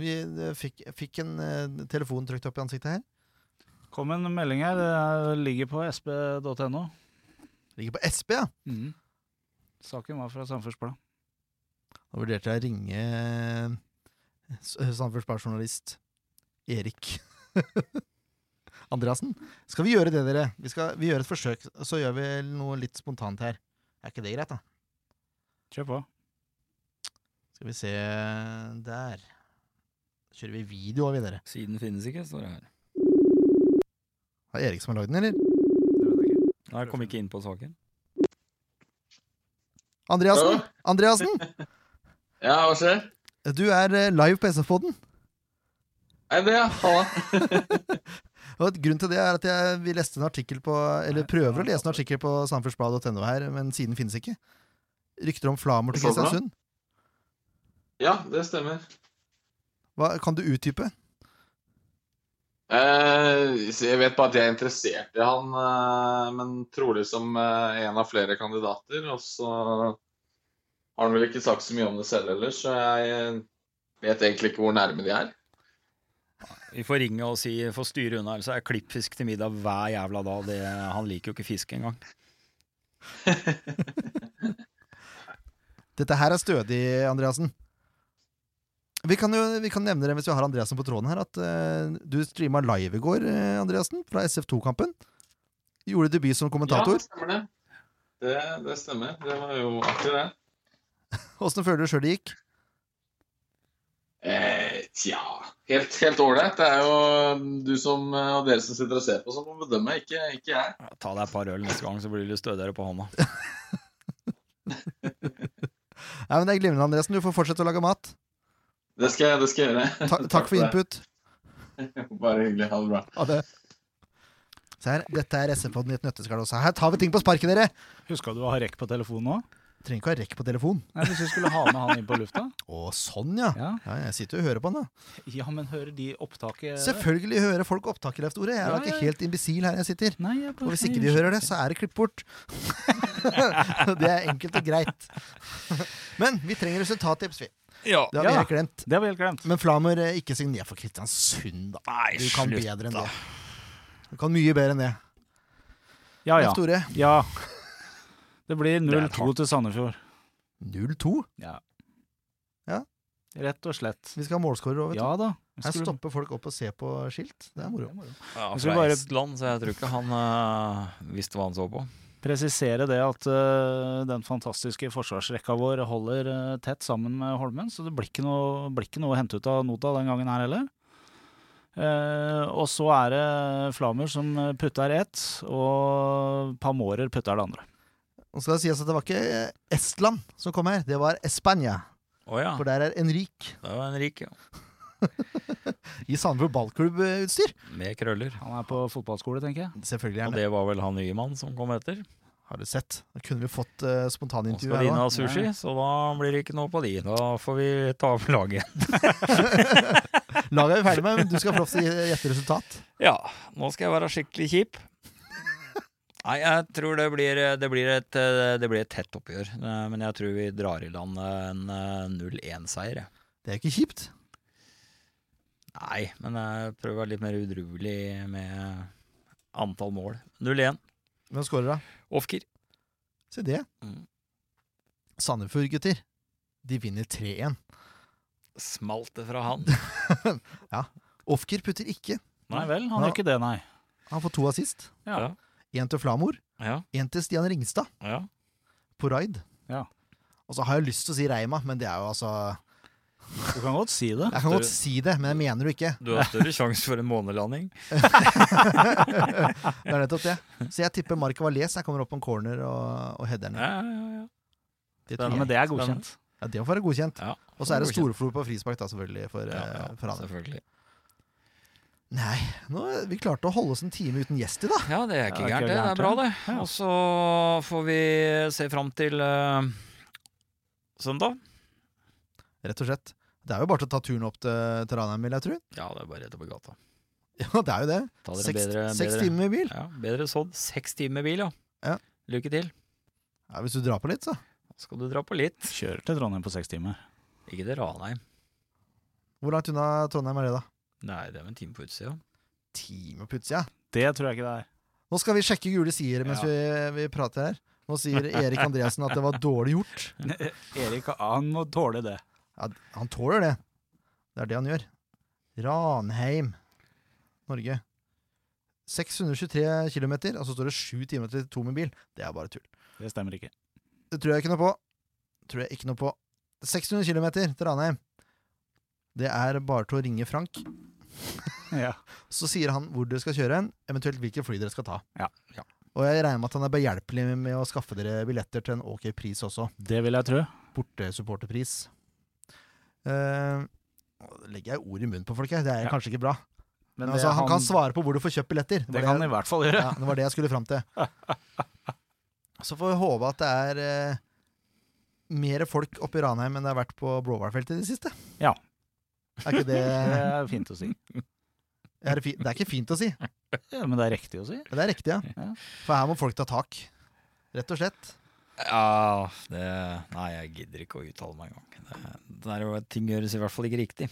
S2: Vi eh, fikk, fikk en eh, telefon trykt opp i ansiktet her.
S1: Kom en melding her. Det ligger på sp.no.
S2: Ligger på SB, ja.
S1: Mm. Saken var fra Samferdselsbladet.
S2: Da vurderte jeg å ringe eh, s- samferdselsjournalist Erik *laughs* Andreassen. Skal vi gjøre det, dere? Vi, skal, vi gjør et forsøk, så gjør vi noe litt spontant her. Er ikke det greit, da?
S1: Kjør på.
S2: Skal vi se eh, Der. Kjører vi video av, vi, dere.
S3: Siden finnes ikke, står det her.
S2: Er det Erik som har lagd den, eller?
S3: Nei, jeg kom ikke inn på saken.
S2: Andreassen! Andreassen!
S5: Ja, hva skjer?
S2: Du er eh, live på SF-poden.
S5: Nei, det, ja. Halla.
S2: Og Grunnen til det er at jeg, vi leste en artikkel på Eller prøver å lese en artikkel på samferdselsbladet.no her, men siden finnes ikke. Rykter om Flamor til
S5: Så bra.
S2: Kristiansund.
S5: Ja, det stemmer.
S2: Hva, kan du utdype?
S5: Eh, så jeg vet bare at jeg er interessert i han, eh, men trolig som eh, en av flere kandidater. Og så har han vel ikke sagt så mye om det selv ellers, så jeg eh, vet egentlig ikke hvor nærme de er.
S3: Vi får ringe og si få styre unna, ellers er klippfisk til middag hver jævla dag. Det, han liker jo ikke fisk engang.
S2: Dette her er stødig, Andreassen. Vi kan jo vi kan nevne det hvis vi har Andreassen på tråden her, at eh, du streama live i går, eh, Andreassen, fra SF2-kampen. Gjorde debut som
S5: Ja,
S2: kommentator.
S5: det stemmer det. Det, det stemmer. Det var jo artig, det.
S2: Åssen føler du sjøl det gikk?
S5: Eh, tja Helt helt ålreit. Det er jo du som, eh, og dere som sitter og ser på, som må bedømme, ikke, ikke jeg.
S3: Ja, Ta deg et par øl neste gang, så blir du stødigere på hånda.
S2: Nei, men Det er glimrende, Andreassen. Du får fortsette å lage mat.
S5: Det skal, jeg- det skal
S2: *laughs*
S5: jeg gjøre.
S2: Ta, takk for input.
S5: Bare hyggelig. Ha det bra.
S2: Ha det. Se her, dette er SM-podden i et nøtteskall også. Her tar vi ting på sparket, dere!
S1: Huska du å ha rekk på telefonen òg?
S2: Trenger ikke å ha rekk på telefon.
S1: Hvis vi skulle ha med han inn på *laughs* lufta?
S2: Å, sånn, ja.
S1: Ja,
S2: ja. Jeg sitter jo og hører på den, da.
S1: ja men hører de opptaket
S2: Selvfølgelig hører folk opptaket, Leif Tore. Jeg er
S1: Eh. Ja,
S2: da ikke
S1: ja.
S2: helt imbisil her jeg sitter.
S1: Nei, jeg
S2: Og hvis ikke de hører det, så er det klipp bort. *laughs* det er enkelt og greit. Men vi trenger resultattips, vi.
S3: Ja.
S2: Det har vi
S1: Ja.
S2: helt glemt.
S1: Det har vi helt glemt.
S2: Men Flamer, eh, ikke signer for Kristiansund, da.
S3: Nei,
S2: Du kan
S3: slutt,
S2: bedre enn
S3: da.
S2: det. Du kan mye bedre enn det.
S1: Ja, ja.
S2: Leif Tore,
S1: ja. Det blir
S3: Det er
S1: 0-2 til Sandefjord.
S2: 0-2.
S1: Rett og slett.
S2: Vi skal ha målskårer òg, vet
S1: Ja da.
S2: du.
S1: Vi
S2: Her
S1: skulle-
S2: stopper folk opp og ser på skilt. Det er moro.
S3: Ja,
S1: Jeg
S3: fra
S1: skulle bare-
S3: Estland, så jeg tror ikke han eh, visste hva han så på.
S1: presisere det at eh, den fantastiske forsvarsrekka vår holder eh, tett sammen med Holmen, så det blir ikke noe, blir ikke noe å hente ut av nota den gangen her heller. Eh, og så er det Flamer som putter ett, og Pamorer putter det andre.
S2: Og skal det sies at det var ikke eh, Estland som kom her, det var Spania.
S3: Å ja,
S2: For der er Enrik
S3: det var en rik, ja.
S2: i Sandefjord ballklubbutstyr.
S3: Med krøller.
S1: Han er på fotballskole, tenker jeg.
S2: Selvfølgelig er
S3: Og
S2: han det.
S3: det var vel han nye mann som kom etter.
S2: Har du sett? Da kunne vi fått uh,
S3: Nå
S2: spontanintervju
S3: skal
S2: her
S3: de
S2: òg.
S3: ha sushi, så da blir det ikke noe på de. Da får vi ta av laget.
S2: Laget er vi ferdig med, men du skal få lov til å gjette resultat.
S3: Ja, nå skal jeg være skikkelig *laughs* kjip. Nei, jeg tror det blir, det blir, et, eh, det blir et tett oppgjør. Eh, Men jeg tror vi drar i land eh, en eh, 0-1-seier. jeg.
S2: Det er jo ikke kjipt.
S3: Nei, men jeg prøver å være litt mer udruelig med eh, antall mål. 0-1.
S2: Hvem skårer da?
S3: Ofker.
S2: Se det.
S3: Mm.
S2: Sandefjord, gutter. De vinner 3-1.
S3: Smalt det fra han.
S2: Ofker putter ikke.
S1: Nei vel, han
S2: Ja.
S1: gjør ikke det, nei.
S2: Han får to assist.
S3: Ja.
S2: Én til Flamor,
S3: Ja,
S2: én til Stian Ringstad
S3: ja.
S2: på raid.
S1: Ja.
S2: Og så har jeg lyst til å si Reima, men det er jo altså
S1: Du kan godt si *laughs* det.
S2: Jeg kan godt si det, men jeg mener det
S3: *laughs*
S2: ikke.
S3: Du har større sjanse for en månelanding.
S2: Det er nettopp det. Så jeg tipper Mark Valais jeg kommer opp på en corner og, og header den.
S3: Ja, ja, ja.
S2: Det,
S3: spennende.
S2: tror
S1: Men
S2: jeg.
S1: det er godkjent.
S2: ja, det må være godkjent.
S3: Ja,
S2: Og så er det
S3: godkjent.
S2: storflor på frispark, da, selvfølgelig, for,
S3: Ja,
S2: eh,
S3: ja,
S2: for han.
S3: selvfølgelig.
S2: Nei, nå, vi klarte å holde oss en time uten gjest i dag.
S3: Ja, det er
S1: Ja,
S3: ikke gærent, det. Det er bra, det.
S1: Ja.
S3: Og så får vi se fram til eh, søndag.
S2: Rett og slett. Det er jo bare til å ta turen opp til, til Ranheim, vil jeg tro. *laughs*
S3: Ja, det er bare rett oppi gata.
S2: Ja, det er jo det.
S3: Ta dere
S2: Seks,
S3: bedre,
S2: seks
S3: bedre.
S2: timer i bil.
S3: Ja, bedre sådd. Seks timer bil, ja.
S2: Ja.
S3: Lykke til.
S2: Ja, hvis du drar på litt, så.
S3: Nå skal du dra på litt.
S1: Kjører til Trondheim på seks timer.
S3: Ikke til Ranheim.
S2: Hvor langt unna Trondheim er det, da?
S3: Nei, det er vel en time på utsida.
S2: Time på utsida.
S1: Det tror jeg ikke det er.
S2: Nå skal vi sjekke gule sider mens vi, vi prater her. Nå sier Erik Andreassen at det var dårlig gjort.
S1: Erik, han må tåle det.
S2: Ja, han tåler det. Det er det han gjør. Ranheim, Norge. 623 km, og så står det 7 timer til to med bil. Det er bare tull.
S1: Det stemmer ikke.
S2: Det tror jeg ikke noe på. Tror jeg ikke noe på. 600 km til Ranheim. Det er bare til å ringe Frank.
S1: Ja.
S2: Så sier han hvor dere skal kjøre hen, eventuelt hvilke fly dere skal ta.
S1: Ja,
S3: ja.
S2: Og jeg regner med at han er behjelpelig med å skaffe dere billetter til en ok pris også.
S1: Det vil jeg tro.
S2: Bortesupporterpris. Eh, nå legger jeg ord i munnen på folk her, det er
S1: Ja.
S2: kanskje ikke bra. Men
S1: Men
S2: altså, han, kan svare på hvor du får kjøpt billetter.
S1: Det
S2: var
S1: kan han i hvert fall gjøre.
S2: ja, det var det jeg skulle fram
S1: *laughs*
S2: til. Så får vi håpe at det er eh, mer folk oppe i Ranheim enn det har vært på Blåhvalfeltet i det siste.
S1: Ja.
S2: Er ikke det,
S1: Det *laughs* er fint å si.
S2: er det, fi, det er ikke fint å si, men
S1: Ja, men det er riktig å si.
S2: det er riktig, ja.
S1: Ja.
S2: For her må folk ta tak. Rett og slett.
S3: Ja, det Nei, jeg gidder ikke å uttale meg engang. Det- Det er jo Ting gjøres i hvert fall ikke riktig.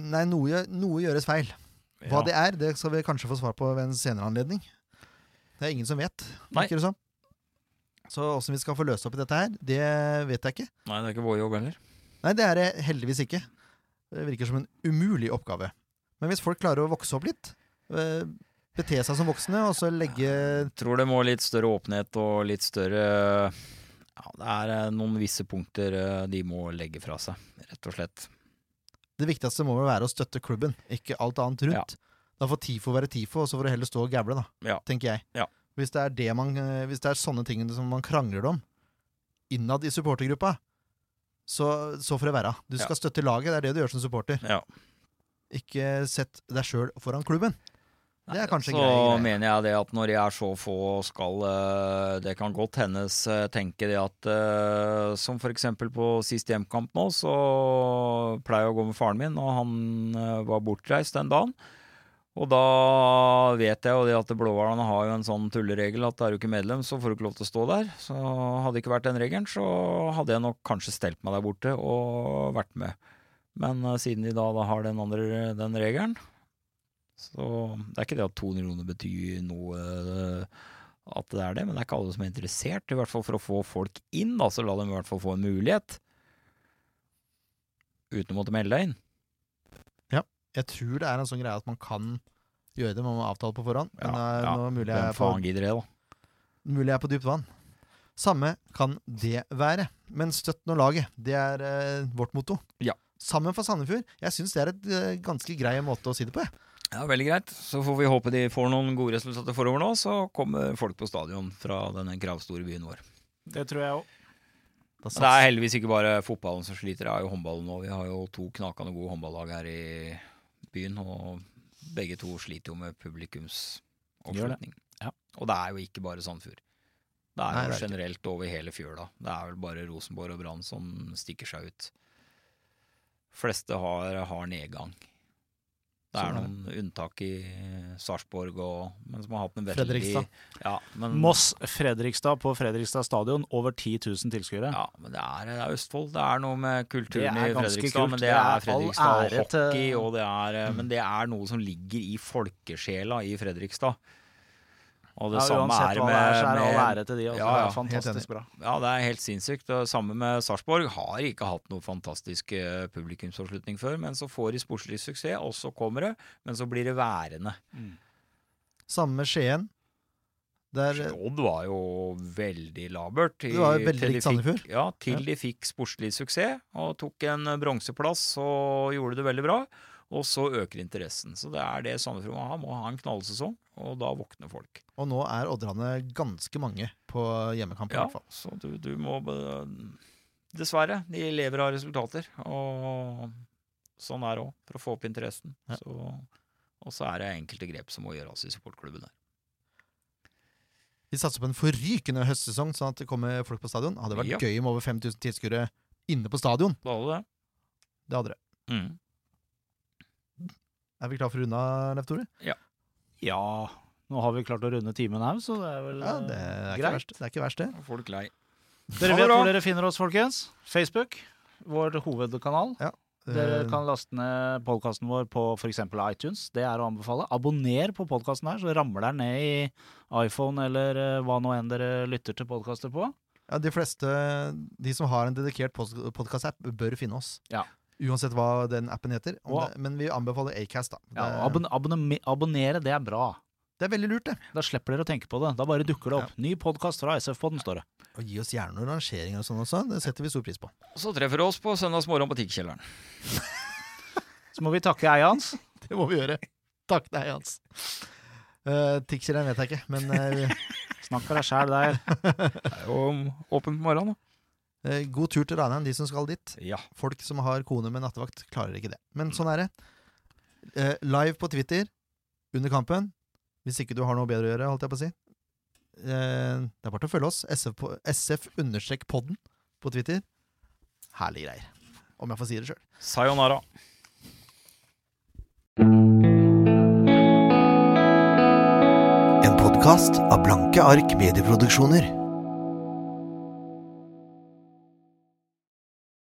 S2: Nei, noe, gjø- noe gjøres feil. Hva
S3: Ja.
S2: det er, det skal vi kanskje få svar på ved en senere anledning. Det er ingen som vet,
S3: Nei.
S2: virker det som. Så åssen vi skal få løst opp i dette her, det vet jeg ikke.
S3: Nei, det er ikke vår jobb heller.
S2: Nei, det er det heldigvis ikke. Det virker som en umulig oppgave. Men hvis folk klarer å vokse opp litt, eh, bete seg som voksne, og så legge
S3: tror det må litt større åpenhet og litt større ja, Det er eh, noen visse punkter eh, de må legge fra seg, rett og slett.
S2: Det viktigste må vel være å støtte klubben, ikke alt annet rundt. Da får TIFO være TIFO, og så får det heller stå og gable, da,
S3: Ja.
S2: tenker jeg.
S3: Ja.
S2: Hvis, det er det man, eh, hvis det er sånne ting som man krangler om innad i supportergruppa, så, så får det være. Du skal støtte laget, det er det du gjør som supporter.
S3: Ja.
S2: Ikke sett deg sjøl foran klubben. Det er kanskje
S3: så
S2: en grei greie.
S3: mener jeg det at når jeg er så få skal eh, Det kan godt hendes tenke det at eh, Som for eksempel på sist hjemkamp nå, så pleier jeg å gå med faren min, og han eh, var bortreist den dagen. Og da vet jeg jo det at blåhvalene har jo en sånn tulleregel at er du ikke medlem, så får du ikke lov til å stå der. Så hadde det ikke vært den regelen, så hadde jeg nok kanskje stelt meg der borte og vært med. Men eh, siden de da, da har den andre den regelen, så det er ikke det at 200 kroner betyr noe eh, at det er det, men det er ikke alle som er interessert, i hvert fall for å få folk inn, da, så la dem i hvert fall få en mulighet. Uten å måtte melde deg inn.
S2: Jeg tror det er en sånn greie at man kan gjøre det, man må avtale på forhånd. Men det
S3: Ja,
S2: er
S3: ja.
S2: nå mulig jeg
S3: Hvem
S2: er på
S3: faen gidder det, da?
S2: Mulig jeg er på dypt vann. Samme kan det være. Men støtt nå laget. Det er eh, vårt motto.
S3: Ja.
S2: Sammen for Sandefjord. Jeg syns det er et eh, ganske grei måte å si det på. jeg.
S3: Ja, Veldig greit. Så får vi håpe de får noen gode resultater forover nå, så kommer folk på stadion fra denne kravstore byen vår.
S1: Det tror jeg òg.
S2: Da
S3: Men det
S2: sats-
S3: er heldigvis ikke bare fotballen som sliter, det er jo håndballen nå. Vi har jo to knakende gode håndballag her i byen, og begge to sliter jo med
S1: Gjør
S3: publikumsoppslutning.
S1: Ja.
S3: Og det er jo ikke bare Sandfjord. Det er
S2: Nei,
S3: jo
S2: det er
S3: generelt over hele fjøla. Det er vel bare Rosenborg og Brann som stikker seg ut. Fleste har, har nedgang. Det er
S2: Sånn er
S3: noen unntak i Sarpsborg og Men som har hatt en veldig
S2: Fredrikstad.
S3: Ja, men,
S1: Moss Fredrikstad på Fredrikstad stadion, over 10 000 tilskuere.
S3: Ja, men det er, det er Østfold. Det er noe med
S1: Det
S3: kulturen
S1: er
S3: i
S1: ganske
S3: Fredrikstad.
S1: kult.
S3: Men
S1: Det
S3: det
S1: er all
S3: er Fredrikstad og
S1: ære til- Mm.
S3: hockey, og det er, eh, men det er noe som ligger i folkesjela i Fredrikstad. Og det
S1: Ja,
S3: samme
S1: uansett
S3: er
S1: hva
S3: med,
S1: det er, så er det all
S3: med-
S1: ære til de. Altså,
S3: Ja, ja,
S1: det er
S2: helt enig.
S1: fantastisk bra.
S3: Ja, det er helt sinnssykt. Det samme med Sarpsborg. Har ikke hatt noe fantastisk eh, publikumsoppslutning før, men så får de sportslig suksess, og så kommer det, men så blir det værende.
S2: Samme med Skien. Der, eh,
S3: Odd var jo veldig labert. i-
S2: Det var jo veldig
S3: til de
S2: likt
S3: fikk-
S2: Sandefjord.
S3: Ja, til de fikk sportslig suksess og tok en eh, bronseplass og gjorde det veldig bra. Og så øker interessen. Så det er det Sandefjord må ha. Må ha en knallsesong, og da våkner folk.
S2: og nå er Odderane ganske mange på hjemmekamp. i
S3: Ja,
S2: hvert fall.
S3: så du, du må be- Dessverre. De lever av resultater. Og sånn er det òg, for å få opp interessen.
S2: Ja.
S3: Så, og så er det enkelte grep som må gjøres i supportklubbene.
S2: Vi satser på en forrykende høstsesong, sånn at det kommer folk på stadion. Hadde vært
S3: Ja.
S2: gøy med over 5000 tilskuere inne på stadion.
S3: Da hadde det.
S2: Det hadde det.
S3: Mm.
S2: Er vi klar for å runde av, Leif Tore?
S1: Ja, nå har vi klart å runde timen her, så det er vel
S2: Ja, det
S1: eh,
S2: er ikke
S1: greit.
S2: verst, det. Er ikke verst, det.
S3: Folk lei.
S1: Dere
S3: Ha det
S1: vet
S3: bra.
S1: hvor dere finner oss, folkens. Facebook, vår hovedkanal. Dere
S2: Eh,
S1: kan laste ned podkasten vår på f.eks. iTunes. Det er å anbefale. Abonner på podkasten her, så ramler den ned i iPhone eller eh, hva nå enn dere lytter til podkaster på.
S2: Ja, de fleste, de som har en dedikert podkast-app, bør finne oss.
S1: Ja.
S2: Uansett hva den appen heter. Om
S1: Og-
S2: det, men vi anbefaler Acast, da.
S1: Ja,
S2: det,
S1: abon abonne- abonnere, det er bra.
S2: det er veldig lurt, det.
S1: Da slipper dere å tenke på det. Da bare dukker det opp. Ny podkast fra SF-podden, står det.
S2: Og gi oss gjerne noen rangeringer og sånn også. Det setter vi stor pris på.
S3: Så treffer du oss på søndagsmorgen på Tikkjelleren.
S1: Så må vi takke eiet hans.
S2: *laughs* Det må vi gjøre. Takk deg, Hans. Uh, Tikkjelleren vet jeg ikke, men eh, *laughs*
S1: Snakk for deg sjæl der.
S3: Det er jo åpent på morgenen, da.
S2: eh, god tur til Ranheim, de som skal dit.
S3: Ja.
S2: Folk som har kone med nattevakt, klarer ikke det. Men sånn er det. Eh, live på Twitter under kampen. Hvis ikke du har noe bedre å gjøre, holdt jeg på å si. Eh, det er bare til å følge oss. SF, på- SF understrek podden på Twitter. Herlige greier. Om jeg får si det sjøl.
S3: Sayonara.
S4: En podkast av Blanke ark medieproduksjoner.